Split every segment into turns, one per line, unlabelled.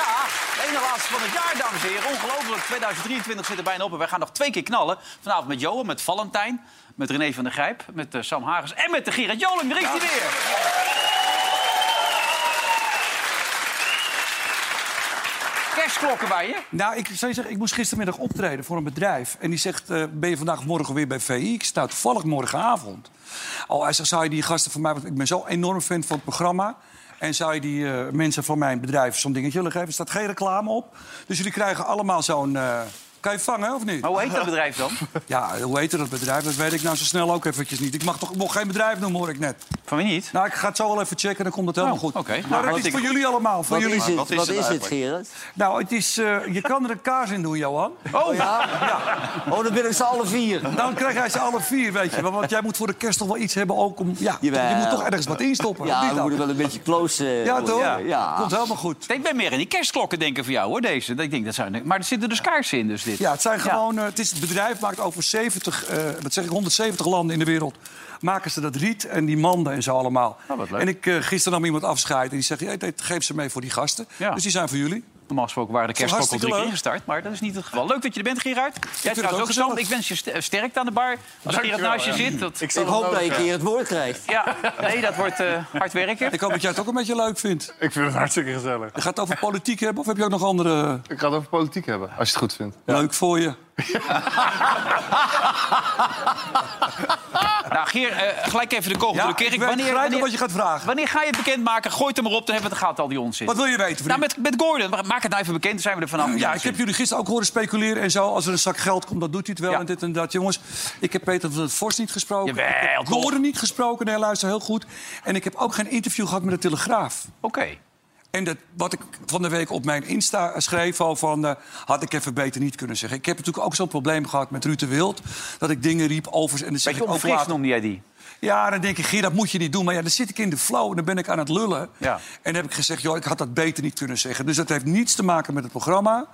Ja, de ene laatste van het jaar, dames en heren. Ongelooflijk, 2023 zit er bijna op en wij gaan nog twee keer knallen. Vanavond met Johan, met Valentijn, met René van der Grijp, met eh, Sam Hagens en met de Gerard Joling. Daar is hij weer. Kerstklokken bij je.
Nou, ik zou je zeggen, ik moest gistermiddag optreden voor een bedrijf. En die zegt, eh, ben je vandaag morgen weer bij VI? Ik sta toevallig morgenavond. Al hij zegt, zou je die gasten van mij... Want ik ben zo enorm fan van het programma. En zou je die eh, mensen van mijn bedrijf zo'n dingetje willen geven? Er staat geen reclame op. Dus jullie krijgen allemaal zo'n... eh, Kan je vangen, of niet?
Maar hoe heet dat bedrijf dan?
Ja, hoe heet dat bedrijf? Dat weet ik nou zo snel ook eventjes niet. Ik mag toch nog geen bedrijf noemen, hoor ik net.
Van wie niet?
Nou, ik ga het zo wel even checken, dan komt het helemaal
Oh,
goed.
oké. Nou,
Maar
wat
dat is
ik-
voor jullie allemaal. Voor
Wat
jullie.
is het,
wat is
wat is
het
het
eigenlijk?
Gerard?
Nou, het is, eh, je kan er een kaas in doen, Johan.
Oh,
Oh, dan ben ik ze alle vier.
Dan krijg hij ze alle vier, weet je. wel. Want jij moet voor de kerst toch wel iets hebben ook om... Ja,
Jawel.
je moet toch ergens wat instoppen. of niet
Ja, we
dan?
moeten wel een beetje close... eh,
ja toch?
worden. Ja.
Komt helemaal goed.
ik ben meer in die kerstklokken denken voor jou, hoor, deze. Dat Ik denk, dat zijn... Maar er zitten dus kaarsen in, dus dit.
Ja, het zijn gewoon... eh, het, is, het bedrijf maakt over 70, eh, wat zeg ik, 170 landen in de wereld... maken ze dat riet en die manden en zo allemaal.
Oh, wat leuk.
En ik, eh, gisteren nam iemand afscheid en die zegt... "Ja, dit geef ze mee voor die gasten.
Ja.
Dus die zijn voor jullie.
Normaal gesproken waren de kerstklokken al
Hartstikke
drie keer
leuk.
ingestart, maar dat is niet het geval. Leuk dat je er bent, Gerard. Jij
het
trouwens
ook
ook gezond. Ik
gezellig.
wens je st- eh, sterkte aan de bar. Als Gerard
Dankjewel,
naast je
ja.
zit. Dat...
Ik,
Ik hoop dat je een keer het woord krijgt.
Ja, nee, dat wordt eh, hard werken.
Ik hoop dat jij het ook een beetje leuk vindt.
Ik vind het hartstikke gezellig.
Je gaat het over politiek hebben of heb je ook nog andere...
Ik ga het over politiek hebben, als je het goed vindt.
Leuk voor je.
Nou, Geer, eh, gelijk even de kogel
Ja,
door de
ik
kerk.
weet
Wanneer,
gelijk
wanneer,
wat je gaat vragen.
wanneer ga je het bekendmaken? Gooi het er maar op, dan hebben we het gaat al die onzin.
Wat wil je weten, vriend?
nou, met, met Gordon. Maak het nou even bekend, dan zijn we er vanaf.
Ja, ik heb jullie gisteren ook horen speculeren en zo. Als er een zak geld komt, dan doet hij het wel
Ja.
en dit en dat. Jongens, ik heb Peter van het Vos niet gesproken.
Jawel,
ik heb
toch?
Gordon niet gesproken. Nee, luister, heel goed. En ik heb ook geen interview gehad met de Telegraaf.
Oké.
En dat, wat ik van de week op mijn Insta schreef al van... eh, had ik even beter niet kunnen zeggen. Ik heb natuurlijk ook zo'n probleem gehad met Ruud de Wild. Dat ik dingen riep over... En dan zeg
Beetje
ik ook
onfris
later-
noemde jij die.
ja, dan denk ik, Geer, dat moet je niet doen. Maar ja, dan zit ik in de flow en dan ben ik aan het lullen.
Ja.
En dan heb ik gezegd, joh, ik had dat beter niet kunnen zeggen. Dus dat heeft niets te maken met het programma.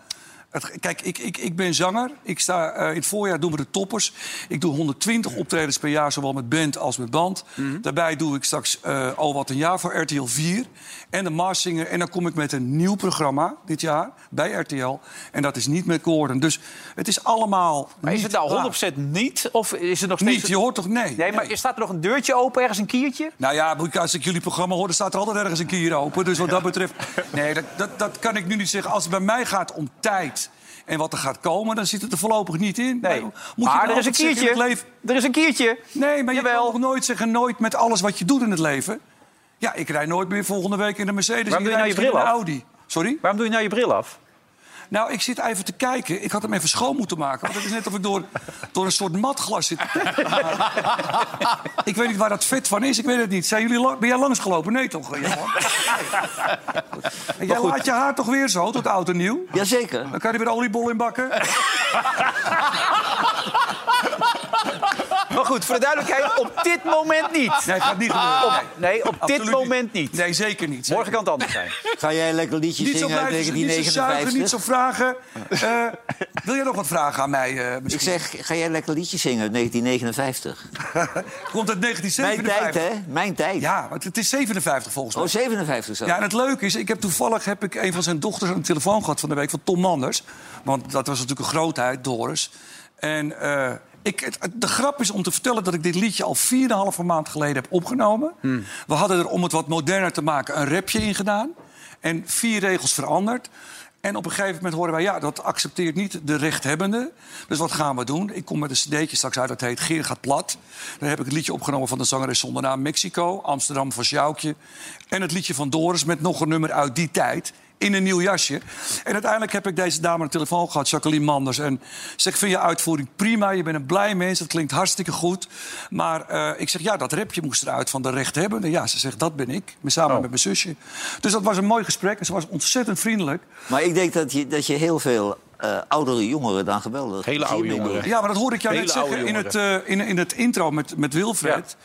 Het- kijk, ik, ik, ik ben zanger. Ik sta, eh, in het voorjaar doen we de toppers. Ik doe 120 optredens per jaar, zowel met band als met band.
Mhm.
Daarbij doe ik straks eh, al wat een jaar voor RTL 4. En de Mars Singer. En dan kom ik met een nieuw programma dit jaar bij RTL. En dat is niet met Gordon. Dus het is allemaal
Maar is
niet
het
waar.
nou 100% niet? Of is het nog steeds...
Niet, je hoort toch nee?
Nee, maar staat er nog een deurtje open, ergens een kiertje?
Nou ja, moet ik- als ik jullie programma hoor, dan staat er altijd ergens een kier open. Dus wat dat betreft, nee, dat, dat, dat kan ik nu niet zeggen. Als het bij mij gaat om tijd en wat er gaat komen, dan zit het er voorlopig niet in.
Nee.
Maar,
maar
nou
er is een
altijd zeggen in
kiertje.
het leven-
Er is een kiertje.
Nee, maar je
Jawel.
kan toch nooit zeggen nooit met alles wat je doet in het leven. Ja, ik rij nooit meer volgende week in de Mercedes.
Waarom doe
ik
je nou je
rijd misschien
bril
in een Audi. Sorry?
Waarom doe je nou je bril af?
Nou, ik zit even te kijken. Ik had hem even schoon moeten maken. Want het is net of ik door, door een soort matglas zit. te kijken. ik weet niet waar dat vet van is. Ik weet het niet. Zijn jullie lang- ben jij langsgelopen? Nee, toch? Johan? Goed. En jij laat je haar toch weer zo, tot oud en nieuw?
Jazeker.
Dan kan je weer oliebol in bakken.
Maar goed, voor de duidelijkheid, op dit moment niet.
Nee, gaat niet gebeuren.
Op- nee, op
Absoluut
dit moment niet.
Nee, zeker niet. Zeker.
Morgen kan het anders zijn.
Ga jij een lekker liedje
Niet zo
zingen uit
blijven, niet zo zuigen, niet zo
1959?
vragen. Eh, wil jij nog wat vragen aan mij? eh,
Ik
misschien?
zeg, ga jij een lekker liedje zingen uit 1959?
Komt uit
Mijn
1957?
tijd, hè? Mijn tijd.
Ja, want het is 57 volgens mij.
Oh, 57 zo.
Ja, en het leuke is, ik heb toevallig heb ik een van zijn dochters aan de telefoon gehad van de week, van Tom Manders. Want dat was natuurlijk een grootheid, Doris. En eh, ik, het- het- de grap is om te vertellen dat ik dit liedje al 4,5 maand geleden heb opgenomen. We hadden er, om het wat moderner te maken, een rapje in gedaan. En vier regels veranderd. En op een gegeven moment horen wij, ja, dat accepteert niet de rechthebbende. Dus wat gaan we doen? Ik kom met een cd'tje straks uit, dat heet Geer gaat plat. Daar heb ik het liedje opgenomen van de zangeres zonder naam Mexico... Amsterdam van Sjoukje. En het liedje van Doris met nog een nummer uit die tijd.
in een nieuw jasje. En uiteindelijk heb ik deze dame aan de telefoon gehad, Jacqueline Manders. En ze zegt, vind je uitvoering prima, je bent een blij mens, dat klinkt hartstikke goed. Maar eh, ik zeg, ja, dat repje moest eruit van de rechthebbende. Ja, ze zegt, dat ben ik, samen met mijn zusje. Dus dat was een mooi gesprek en ze was ontzettend vriendelijk.
Maar ik denk dat je, dat je heel veel eh, oudere jongeren dan geweldig.
Hele
plezier
oude
mee doet.
jongeren.
Ja, maar dat hoorde ik jou
Hele
net zeggen
oude
in het, eh, in, in het intro met, met Wilfred.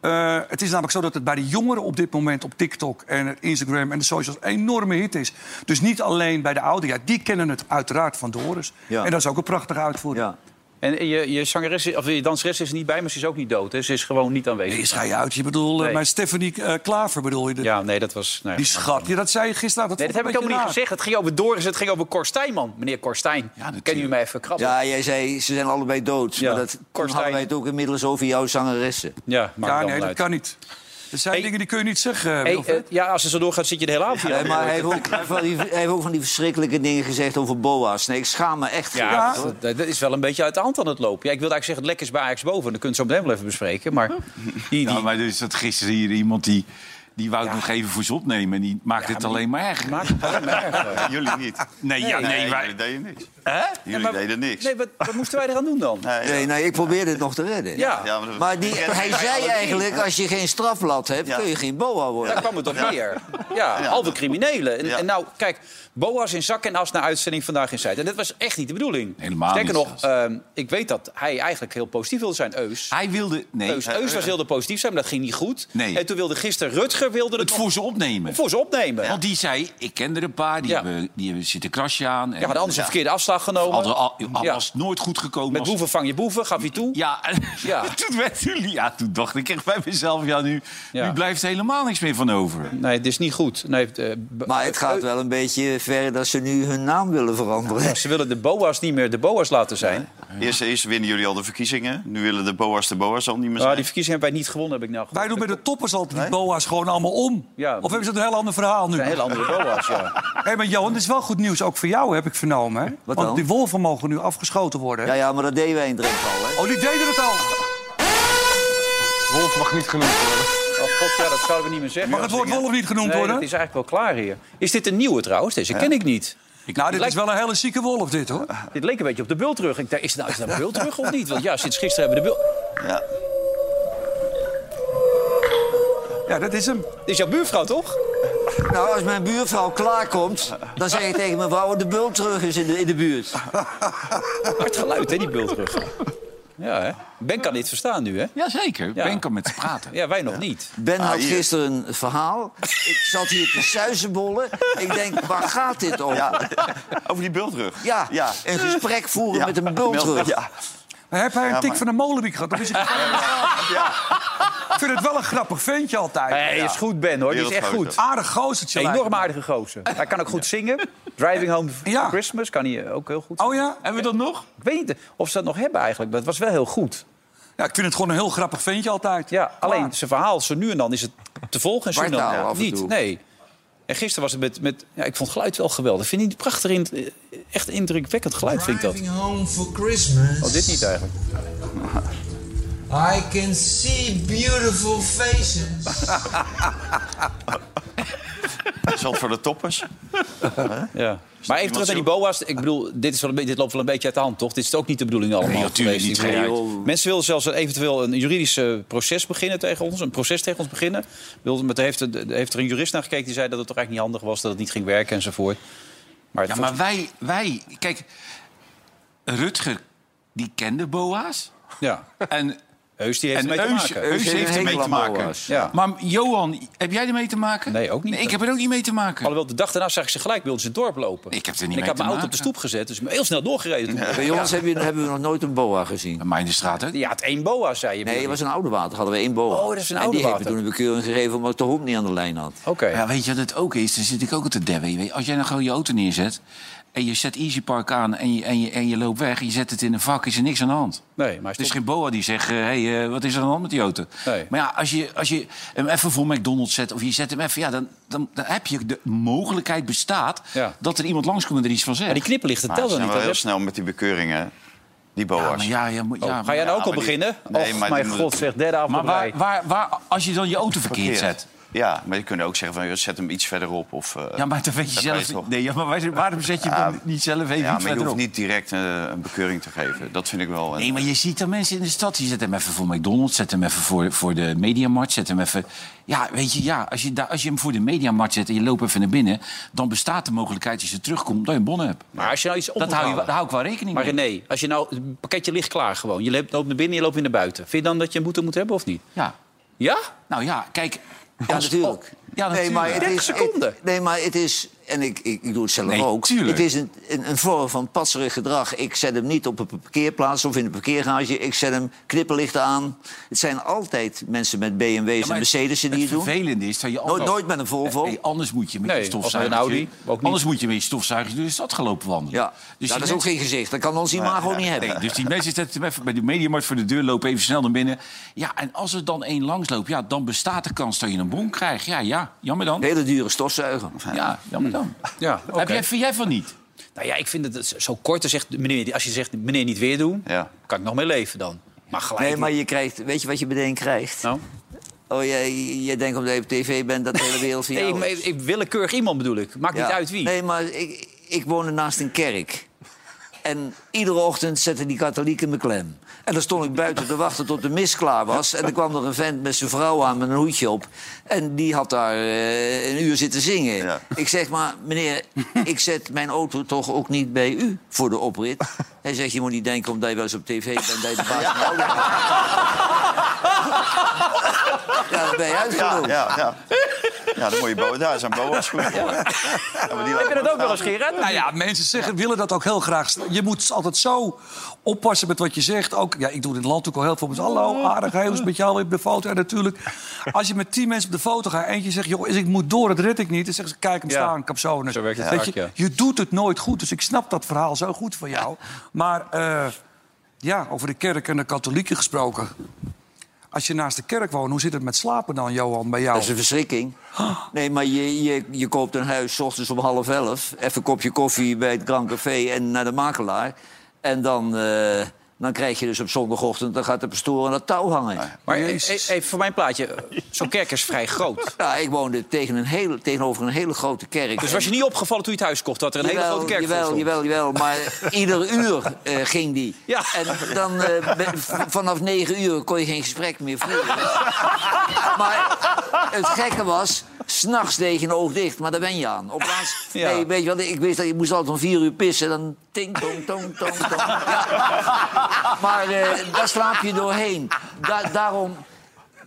Eh, het is namelijk zo dat het bij de jongeren op dit moment op TikTok en het Instagram en de socials een enorme hit is. Dus niet alleen bij de ouderen. Ja, die kennen het uiteraard van Doris.
Ja.
En dat is ook een prachtige uitvoering.
Ja.
En je, je zangeres, of je danseres is er niet bij, maar ze is ook niet dood. Hè? Ze is gewoon niet aanwezig.
Nee, schij je uit. Je bedoelt, eh,
Nee.
maar Stephanie eh, Klaver bedoel je? de-
Ja, nee, dat was... Nee.
Die schat. Ja, dat zei je gisteren.
Nee, dat heb ik helemaal niet gezegd. Het ging over Doris, het ging over Korstijn, man. Meneer Korstijn, ken u mij even krabbelen?
ja, jij zei ze zijn allebei dood.
Ja.
Maar dat, toen
Korstijn.
hadden wij het ook inmiddels over jouw zangeressen.
Ja, maakt dan
Ja, nee,
wel
dat
uit.
kan niet. Er zijn
Hey.
dingen die kun je niet zeggen,
Hey,
Wilfred.
eh, ja, als ze zo doorgaat, zit je de hele avond hier.
Nee, maar hij heeft, ook, hij, heeft van die, hij heeft ook van die verschrikkelijke dingen gezegd over boa's. Nee, ik schaam me echt. voor.
Ja, dat- dat dat is wel een beetje uit de hand aan het lopen. Ja, ik wilde eigenlijk zeggen, het lekker is bij Ajax boven. Dan kunt u zo meteen wel even bespreken. Maar die,
Ja,
die
maar dus dat gisteren hier iemand die, die wou het nog even voor ze opnemen. En die maakt het alleen maar erger.
maakt het wel erg.
Jullie niet.
Nee, ja, nee, wij-
jullie deden niks.
Hè?
Jullie
maar-
deden niks.
Nee, wat, wat moesten wij eraan doen dan?
Nee,
Nee, nee, ik probeerde het nog te redden.
Ja,
ja, maar,
Maar die, hij zei eigenlijk, als je geen strafblad hebt,
Ja.
kun je geen boa
daar
worden.
kwam het op neer. Ja, halve criminelen. En,
Ja.
en nou, kijk, boa's in zak en as naar uitzending vandaag in Zuid. En dat was echt niet de bedoeling.
Helemaal
Sterker
niet
nog,
zelfs.
ehm, ik weet dat hij eigenlijk heel positief wilde zijn, Eus.
Hij wilde... Nee,
Eus, Eus was heel positief zijn, maar dat ging niet goed.
Nee.
En toen wilde gisteren Rutger wilde het
het
nog
voor ze opnemen.
voor ze opnemen. Ja,
Want die zei, ik ken er een paar, die,
Ja.
hebben, die hebben zitten krasje aan. En
maar anders een verkeerde afslag genomen.
Hadden al, al
Ja.
was het nooit goed gekomen.
Met
als-
boeven vang je boeven, gaf hij toe.
Ja, en-
Ja.
toen werd jullie... Ja, toen dacht ik echt bij mezelf, ja, nu,
Ja.
nu blijft helemaal niks meer van over.
Nee, dit is niet goed. Nee, eh, b-
Maar het gaat wel een beetje ver dat ze nu hun naam willen veranderen.
Ze willen de boa's niet meer de boa's laten zijn.
Eerst, eerst winnen jullie al de verkiezingen. Nu willen de boa's de boa's al niet
Oh,
meer
Maar
zijn.
Ah, die verkiezingen hebben wij niet gewonnen, heb ik nou
Wij
gehoord.
doen bij de toppers altijd die boa's gewoon allemaal om.
Ja.
Of hebben ze een heel ander verhaal nu?
Dat zijn hele andere boa's, ja.
Hé, maar Johan, dit is wel goed nieuws. Ook voor jou heb ik vernomen. Hè?
Wat
Want
dan?
die wolven mogen nu afgeschoten worden.
Ja, ja, maar dat deden wij in Drenthe al, hè.
Oh, die deden het al.
Wolf mag niet genoemd worden.
Oh god, ja, dat zouden we niet meer zeggen.
Mag het woord wolf niet genoemd
Nee,
worden?
het is eigenlijk wel klaar hier. Is dit een nieuwe trouwens? Deze ken ik niet.
Nou, dit
lijkt-
is wel een hele zieke wolf, dit hoor.
Dit leek een beetje op de bult terug. Ik dacht, is het nou, is het nou bult terug of niet? Want ja, sinds gisteren hebben we de bult...
Ja.
Ja, dat is hem.
Dit is jouw buurvrouw, toch?
Nou, als mijn buurvrouw klaarkomt, dan zeg ik tegen mijn vrouw... de bult terug is in de, in de buurt.
Hard geluid, hè, die bult terug. Ja, hè? Ben kan dit verstaan nu, hè?
Jazeker,
Ja.
Ben kan met ze praten.
Ja, wij nog niet.
Ben had
Ah, hier.
gisteren een verhaal. Ik zat hier te suizenbollen. Ik denk, waar gaat dit over? Ja,
Ja. Over die bultrug.
een gesprek voeren
Ja.
met een bult terug.
Ja.
Maar heb hij een
Ja,
tik
maar-
van een molenwiek gehad? Dat is Ik vind het wel een grappig ventje altijd.
Hij is goed, Ben, hoor. Die is echt goed.
Wereldgozer.
Aardig gozertje.
Een
lijkt
enorm aardige gozer. Hij kan ook goed zingen. Driving Home for
Ja.
Christmas kan hij eh, ook heel goed.
me. Oh ja?
Hebben we dat nog?
Ik weet niet of ze dat nog hebben eigenlijk, maar het was wel heel goed.
Ja, ik vind het gewoon een heel grappig ventje altijd.
Ja, alleen zijn verhaal, zo nu en dan, is het te volgen. En zo
Wartaal
dan
nou af en
niet.
toe.
Nee. En gisteren was het met. met ja, ik vond het geluid wel geweldig. Vind je het prachtig? in- eh, echt indrukwekkend geluid, vind ik dat.
Driving home for Christmas.
Oh, dit niet eigenlijk.
I can see beautiful faces.
Zat voor de toppers.
Ja. Maar even terug naar die boa's. Ik bedoel, dit, is wel een beetje, dit loopt wel een beetje uit de hand, toch? Dit is ook niet de bedoeling allemaal
Nee, natuurlijk
geweest.
niet,
Ik bedoel,
Gerard.
joh. Mensen willen zelfs eventueel een juridisch eh, proces beginnen tegen ons. Een proces tegen ons beginnen. Ik bedoel, Maar er heeft, er heeft er een jurist naar gekeken die zei dat het toch eigenlijk niet handig was. Dat het niet ging werken enzovoort. Maar,
Ja,
het
maar wij, wij... Kijk, Rutger, die kende boa's.
ja.
En,
Heus, die heeft
en
ermee te
Eus,
maken.
Eus heeft ermee te maken.
Ja.
Maar Johan, heb jij ermee te maken?
Nee, ook niet.
ik heb er ook niet mee te maken.
Alhoewel, de dag daarna zag ik ze gelijk bij ons in het dorp lopen.
Ik heb er niet
En ik
mee
had
te
mijn auto
maken.
op de stoep gezet, dus ik ben heel snel doorgereden. toen.
Bij ons hebben, we- hebben we nog nooit een boa gezien.
Maar in de straat ook.
Ja, het één boa, zei je.
Nee, het
Billy.
was een oude water. Hadden we één boa.
Oh, dat is een
En
oude
die heeft
water.
me toen een bekeuring gegeven omdat ik de hond niet aan de lijn had.
Oké.
Ja, weet je wat het ook is? Dan zit ik ook op de debbe. Als jij nou gewoon je auto neerzet... en je zet Easy Park aan en je, en je, en je loopt weg... en je zet het in een vak, is er niks aan de hand.
Nee, maar
Het is
stop-
geen boa die zegt, eh, hey, eh, wat is er aan de hand met die auto?
Nee.
Maar ja, als je, als je hem even voor McDonald's zet... of je zet hem even, ja, dan, dan, dan heb je de mogelijkheid bestaat...
Ja.
dat er iemand langskomt en er iets van zegt.
Maar die knipperlichten
Maar ze
tellen
zijn
niet.
wel
hè?
heel snel met die bekeuringen. Die
ja,
boa's.
maar ja, ja, moet- ja,
Oh, ga jij
maar-
nou ook al
ja, maar die-
beginnen?
Nee,
Och,
maar die
mijn
moet-
god, zeg, derde avond
Maar
op
waar,
rij.
waar, waar, als je dan je auto verkeerd
Verkeerd.
zet...
Ja, maar je kunt ook zeggen van joh, zet hem iets verderop. Of, eh,
Ja, maar dan weet je
dat
zelf
weet toch.
niet. Nee, ja, maar waar- waarom zet je hem dan niet zelf even
ja,
iets
maar je hoeft
verderop?
niet direct eh, een bekeuring te geven. Dat vind ik wel. een-
Nee, maar je ziet dan mensen in de stad. Je zet hem even voor McDonald's, zet hem even voor, voor de Mediamarkt, zet hem even... Ja, weet je, ja, als, je daar- als je hem voor de Mediamarkt zet en je loopt even naar binnen... dan bestaat de mogelijkheid, als je terugkomt, dat je een bon hebt.
Maar als je nou iets op
Dat
moet
hou je,
halen-
daar hou ik wel rekening
Maar
mee.
René, als je nou het pakketje ligt klaar gewoon. Je loopt loopt naar binnen, je loopt weer naar buiten. Vind je dan dat je een boete moet hebben of niet?
Ja,
Ja?
nou ja, kijk...
Ja,
als- oh.
natuurlijk.
Ja, natuurlijk.
Nee, maar het
30
is, het-
seconden.
nee, maar het is... En ik, ik, ik doe het zelf
Nee,
ook.
tuurlijk.
Het is een, een, een vorm van patserig gedrag. Ik zet hem niet op een parkeerplaats of in een parkeergarage. Ik zet hem knipperlicht aan. Het zijn altijd mensen met BMW's
Ja,
en
maar het-
Mercedes die het doen.
Het vervelende is dat je
Nooit, nooit met een Volvo.
Nee, anders moet je met je
Nee,
stofzuiger.
of met een Audi, ook niet.
Anders moet je met je stofzuiger door de stad gaan lopen wandelen.
Ja,
Dus
Ja,
die
dat is ook
mensen-
geen gezicht. Dat kan ons imago niet hebben.
Nee, dus die mensen zetten hem even bij de mediamarkt voor de deur, lopen even snel naar binnen. Ja, en als er dan één langsloopt, ja, dan bestaat de kans dat je een bon krijgt. Ja, ja, jammer dan.
Een hele dure stofzuiger.
Ja, jammer dan.
Ja,
Heb jij, vind jij van niet?
Nou ja, ik vind het zo kort. dan Zegt, meneer, als je zegt, meneer, niet weer doen,
Ja.
kan ik nog mee leven dan. Maar gelijk...
Nee, maar je krijgt, weet je wat je meteen krijgt?
Nou?
Oh, jij, jij denkt omdat je op tv bent dat de hele wereld van
Nee,
jou
ik,
is.
ik, ik- willekeurig iemand bedoel ik. Maakt
Ja.
niet uit wie.
Nee, maar ik, ik woonde naast een kerk. En iedere ochtend zetten die katholieken me klem. En dan stond ik buiten te wachten tot de mis klaar was. En dan kwam er een vent met zijn vrouw aan met een hoedje op. En die had daar eh, een uur zitten zingen.
Ja.
Ik zeg maar, meneer, ik zet mijn auto toch ook niet bij u voor de oprit? Hij zegt, je moet niet denken omdat je wel eens op tv bent... dat je de baas van de auto bent. Ja, dan ben je
ja,
uitgelopen.
ja, ja. ja, dan moet je boven. Daar zijn boa's goed voor. Ja. maar die laten-
Heb je dat ook wel eens, Gerard?
Nou ja, mensen zeggen, willen dat ook heel graag. Je moet altijd zo oppassen met wat je zegt. Ook, ja, ik doe in het land ook al heel veel mensen. Hallo,
Oh.
aardig, heel speciaal weer op de foto. En natuurlijk, als je met tien mensen op de foto gaat... eentje zegt, joh, ik moet door, dat red ik niet. Dan zeggen ze, kijk hem
Ja.
staan, kapsones.
Zo werkt het
Weet
vaak,
je,
ja.
je doet het nooit goed, dus ik snap dat verhaal zo goed van jou. Maar eh, ja, over de kerk en de katholieken gesproken... Als je naast de kerk woont, hoe zit het met slapen dan, Johan, bij jou?
Dat is een verschrikking. Nee, maar je, je, je koopt een huis 's ochtends om half elf. Even een kopje koffie bij het Grand Café en naar de makelaar. En dan, eh, dan krijg je dus op zondagochtend... dan gaat de pastoor aan dat touw hangen.
Maar e- e- even voor mijn plaatje. Zo'n kerk is vrij groot.
Ja, ik woonde tegen een hele, tegenover een hele grote kerk.
Dus was je niet opgevallen toen je het huis kocht... dat er een hele grote kerk voor
jawel,
stond?
jawel, jawel, maar ieder uur eh, ging die.
Ja.
En dan eh, be- v- vanaf negen uur kon je geen gesprek meer voeren. maar het gekke was, s'nachts deed je een oog dicht, maar daar ben je aan. Op laatst,
Ja.
nee, weet je wat, ik wist dat je moest altijd om vier uur pissen. Dan ting, tong, tong, tong, tong. Ja. Maar eh, daar slaap je doorheen. Da- daarom...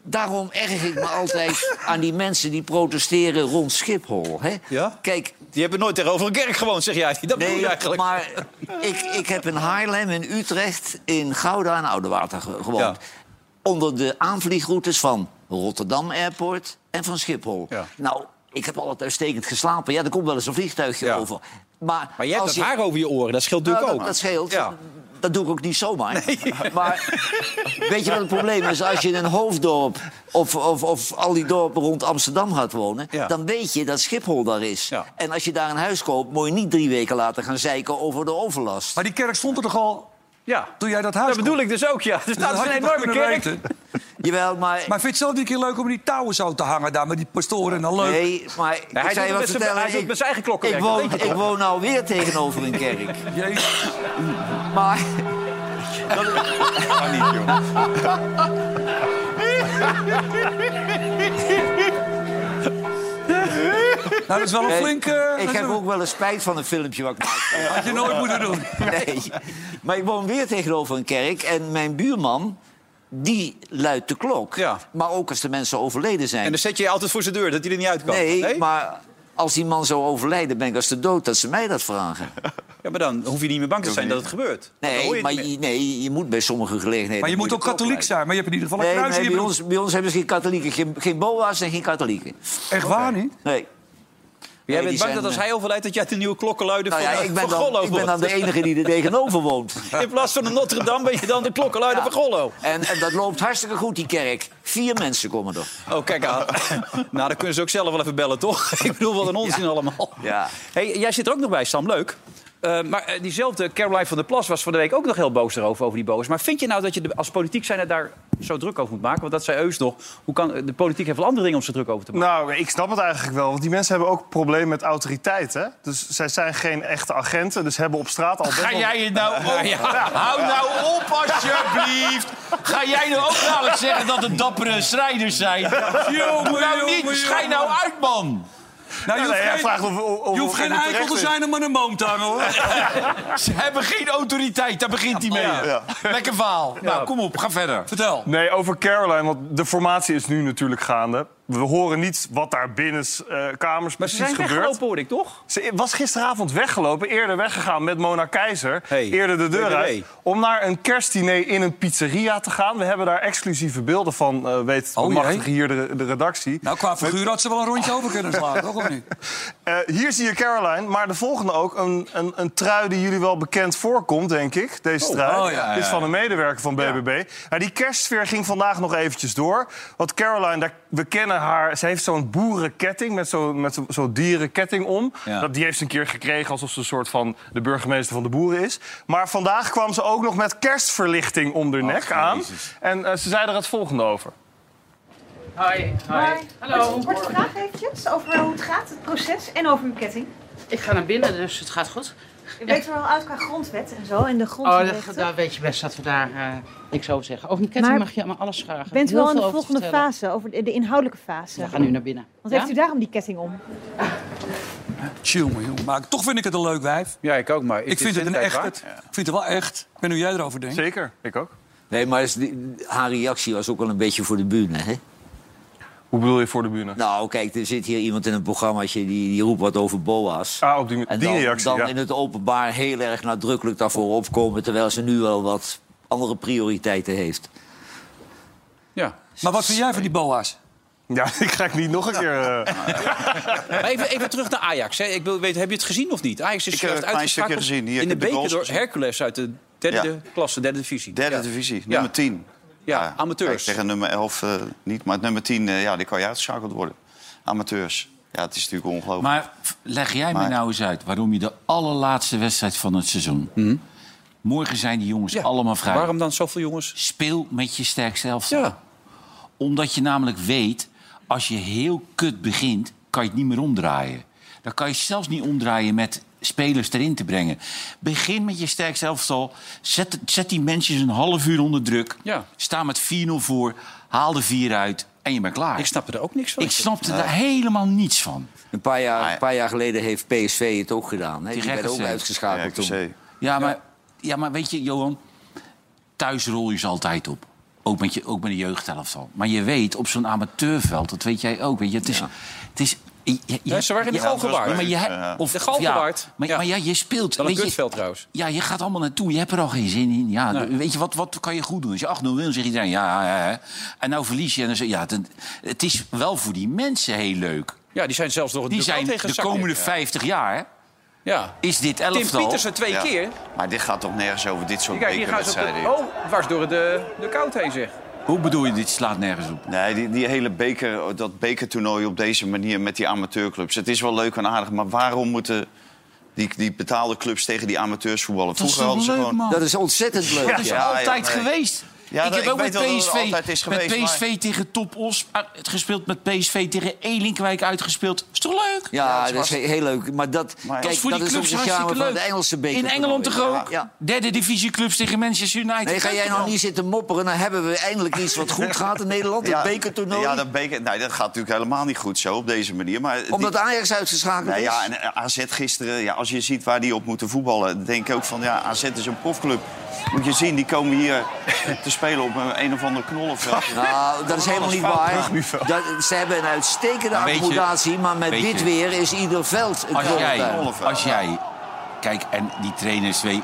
Daarom erg ik me altijd aan die mensen die protesteren rond Schiphol. Hè?
Ja?
Kijk,
Die hebben nooit tegenover een kerk gewoond, zeg jij. Dat bedoel je
Nee,
eigenlijk.
maar ik, ik heb in Haarlem, in Utrecht, in Gouda en Oudewater ge- gewoond.
Ja.
Onder de aanvliegroutes van Rotterdam Airport en van Schiphol.
Ja.
Nou, ik heb altijd uitstekend geslapen. Ja, er komt wel eens een vliegtuigje
Ja.
over. Maar,
Maar jij hebt
als
dat haar over je oren. Dat scheelt
Nou,
natuurlijk
dat,
ook.
dat scheelt.
Ja.
Dat doe ik ook niet zomaar. Maar weet je wat het probleem is? Als je in een hoofddorp of, of, of al die dorpen rond Amsterdam gaat wonen...
Ja.
dan weet je dat Schiphol daar is.
Ja.
En als je daar een huis koopt, moet je niet drie weken later gaan zeiken over de overlast.
Maar die kerk stond er toch al
Ja.
toen jij dat
Dat
huis
bedoel
kocht?
ik dus ook, ja. Er
Dat
staat dus
had
een
je toch
enorme
kunnen
kerk.
weten?
Jawel, maar...
Maar vind je het zelf niet een keer leuk om die touwen zo te hangen daar met die pastoren en dan leuk?
Nee, maar ik
hij
zou
doet
je
het
wat
met zijn-
vertellen.
hij doet
ik-
met zijn eigen klokkenwerk,
Ik
dat
woon,
weet je
ik woon alweer tegenover een kerk.
Jezus.
Maar
Kan niet, joh.
Nou, dat is wel een
eh,
flinke...
ik
dat is
heb
wel-
ook wel eens spijt van een filmpje wat ik maak.
Had je nooit moeten doen.
Nee. Maar ik woon weer tegenover een kerk en mijn buurman, die luidt de klok.
Ja.
Maar ook als de mensen overleden zijn.
En dan zet je je altijd voor zijn deur, dat hij er niet uit kan.
nee, maar als die man zou overlijden, ben ik als de dood dat ze mij dat vragen.
Ja, maar dan hoef je niet meer bang te zijn dat het gebeurt. Dan hoor
Nee,
je
maar
het niet
je, nee, je moet bij sommige gelegenheden...
Maar je moet
de
ook
klok
katholiek
luiden.
zijn. Maar je hebt in ieder geval een
Nee,
kruis in
nee
je
bij,
broek.
ons, bij ons hebben ze geen katholieken. Geen, geen boa's en geen katholieken.
Echt waar niet?
Nee.
meer. Jij bent
die
bang
zijn,
dat als
eh,
hij overlijdt... dat jij de nieuwe klokkenluider
Nou ja,
van,
ik ben,
van
dan,
Gollo
ik ben dan
wordt.
de enige die er tegenover woont.
In plaats van de Notre-Dame ben je dan de klokkenluider van Gollo.
En, en dat loopt hartstikke goed, die kerk. Vier mensen komen er.
Oh, kijk aan. nou, dan kunnen ze ook zelf wel even bellen, toch? ik bedoel, wat een onzin allemaal.
Ja.
Hey, jij zit er ook nog bij, Sam. Leuk. Eh,
Eh, maar eh, diezelfde Caroline van der Plas was van de week ook nog heel boos erover, over die boos. Maar vind je nou dat je de- als politiek zijnde daar zo druk over moet maken? Want dat zei Eus nog. Hoe kan, de politiek heeft wel andere dingen om ze druk over te maken.
Nou, ik snap het eigenlijk wel. Want die mensen hebben ook problemen met autoriteit. Hè? Dus zij zijn geen echte agenten. Dus hebben op straat al best wel-
het nou op?
Hou nou op, alsjeblieft. Ga jij nou ook dadelijk zeggen dat het dappere strijders zijn? Jongen, nou niet. Schijn nou uit, man.
Nou, je
Nee,
hoeft
hij
geen-
vraagt of, of- of-
je hoeft
of
geen
hij er
eikel te
terecht is.
zijn om aan een boom te hangen, hoor.
Ze hebben geen autoriteit, daar begint hij mee. Lekker verhaal. Nou, kom op, ga verder.
Vertel.
Nee, over Caroline, want de formatie is nu natuurlijk gaande. We horen niet wat daar binnen eh, kamers
Maar ze
precies
zijn
gebeurt.
weggelopen, hoorde ik, toch?
Ze was gisteravond weggelopen, eerder weggegaan met Mona Keizer.
Hey,
eerder de deur
BBB.
uit. Om naar een kerstdiner in een pizzeria te gaan. We hebben daar exclusieve beelden van, eh, weet
Oh,
oh,
jee.
hier de, de redactie.
Nou, qua figuur had ze wel een rondje over kunnen slaan, toch? Of niet?
Eh, hier zie je Caroline, maar de volgende ook. Een, een, een trui die jullie wel bekend voorkomt, denk ik. Deze trui.
oh, ja,
Dit is van een medewerker van BBB. Nou, die kerstsfeer ging vandaag nog eventjes door. Want Caroline, daar, we kennen haar... Ze heeft zo'n boerenketting met zo'n met zo, zo'n dierenketting om. Dat, die heeft ze een keer gekregen alsof ze een soort van... de burgemeester van de boeren is. Maar vandaag kwam ze ook nog met kerstverlichting om haar nek aan. En eh, ze zei er het volgende over.
Hallo. Kort vraag eventjes over hoe het gaat, het proces en over uw ketting.
Ik ga naar binnen, dus het gaat goed.
Je weet er wel uit qua grondwet en zo en de
Oh,
grondwet.
dat, daar weet je best dat we daar eh, niks over zeggen. Over een ketting
Maar
mag je allemaal alles vragen.
Bent u
Heel
wel in
veel
de
over te
volgende
vertellen.
fase, over de, de inhoudelijke fase?
We gaan nu naar binnen.
Want
Ja?
heeft u daarom die ketting om?
Chill, man, joh. Maar toch vind ik het een leuk wijf.
Ja, ik ook, maar...
Ik vind het een echt.
waar.
Ik vind het wel echt. Ik weet niet hoe jij erover denkt.
Zeker, ik ook.
Nee, maar is die- haar reactie was ook wel een beetje voor de bühne, hè?
Hoe bedoel je voor de bühne?
Nou, kijk, er zit hier iemand in een programmaatje die, die roept wat over boa's.
Ah, op die,
En
die
dan,
reactie,
dan
ja.
in het openbaar heel erg nadrukkelijk daarvoor opkomen... terwijl ze nu wel wat andere prioriteiten heeft.
Ja.
Maar wat vind jij van die boa's?
Ja, ik ga ik niet nog een keer... eh,
Maar even, even terug naar Ajax. Hè. Ik wil weten, heb je het gezien of niet? Ajax is
Ik heb
slecht
een klein stukje
uitgeschakeld
gezien. Hier,
in
ik
de
heb
beker
de goals
door
gezien.
Hercules uit de derde
Ja.
klasse, derde divisie.
Derde
Ja.
divisie,
Ja.
nummer 10.
Ja, amateurs.
Kijk, tegen nummer 11 eh, niet, maar nummer 10, eh, ja, die kan je uitgeschakeld worden. Amateurs. Ja, het is natuurlijk ongelooflijk.
Maar f- leg jij me
Maar-
nou eens uit waarom je de allerlaatste wedstrijd van het seizoen. Morgen zijn die jongens
Ja.
allemaal vrij.
Waarom dan zoveel jongens?
Speel met je sterkste helft.
Ja.
Omdat je namelijk weet, als je heel kut begint, kan je het niet meer omdraaien. Dan kan je zelfs niet omdraaien met spelers erin te brengen. Begin met je sterkste elftal. Zet, zet die mensen een half uur onder druk.
Ja.
Sta met 4-0 voor. Haal de 4 uit. En je bent klaar.
Ik snap er ook niks van.
Ik snapte daar helemaal niets van.
Een paar jaar,
ja.
een paar jaar geleden heeft PSV het ook gedaan. Hè? Ah, Die
Tegen
werd ook
RKC.
Ja,
uitgeschakeld toen.
RKC.
Ja, maar, ja, maar weet je, Johan, thuis rol je ze altijd op. Ook met, je, ook met de jeugdhelftal. Maar je weet, op zo'n amateurveld, dat weet jij ook. Weet je, het is, het is, je, je-
Ja, ze waren in de
je-
Galgenwaard.
Ja, maar je,
Ja.
of,
De
of
Galgenwaard.
Ja, maar,
Ja.
maar ja, je speelt.
Wel een
weet je-
kutveld trouwens.
Ja, je gaat allemaal naartoe. Je hebt er al geen zin in. Ja, Weet je, wat, wat kan je goed doen? Als je 8-0 wil, dan zegt iedereen ja, ja, ja. En nou verlies je. En dan zeg je, ja, het, het is wel voor die mensen heel leuk.
Ja, die zijn zelfs nog een
Die
duel
zijn
tegen
de
Zakken.
komende 50 jaar,
Ja.
is dit
Tim
elftal...
Pietersen twee
Ja.
keer.
Maar dit gaat toch nergens over dit soort
Kijk, hier gaan ze op
bekerwedstrijden.
de... Oh, dwars door de, de koud heen, zeg.
Hoe bedoel je, dit slaat nergens op?
Nee, die, die hele beker, dat bekertoernooi op deze manier met die amateurclubs. Het is wel leuk en aardig, maar waarom moeten die, die betaalde clubs tegen die amateurs voetballen?
Dat is
Vroeger
toch
hadden ze
leuk,
gewoon...
man?
Dat is ontzettend leuk.
Dat is
Ja, ja,
altijd
nee.
geweest.
Ja,
ik
dat-
heb
ik
ook
weet
met
wel dat het
PSV,
altijd is geweest,
met PSV tegen Top Os ah, het gespeeld, met PSV tegen Elinkwijk uitgespeeld. Is toch leuk?
Ja, dat is he- heel leuk. Maar dat,
Maar-
dat
kijk,
is voor
dat
die
is ook
clubs
het
hartstikke
charme
leuk.
van de Engelse beker.
In Engeland toch ook?
Ja.
Derde divisie clubs tegen Manchester United.
Nee, ga jij nou
Ook.
niet zitten mopperen? Dan hebben we eindelijk iets wat goed gaat in Nederland. Het bekertoernooi.
Ja, dat, beker, nee, dat gaat natuurlijk helemaal niet goed zo op deze manier. Maar die-
Omdat Ajax uitgeschakeld
Nou
is.
ja, en eh, AZ gisteren, ja, als je ziet waar die op moeten voetballen... denk ik ook van, ja, AZ is een profclub. Moet je zien, die komen hier te spelen op een, een of andere knol of zo.
Nou, dat is helemaal niet waar.
terugniveau.
Dat, ze hebben een uitstekende
Maar weet je-
accommodatie, maar met
weet
dit
je-
weer is ieder veld een
Als jij,
knollentuin.
als jij... Kijk, en die trainers twee...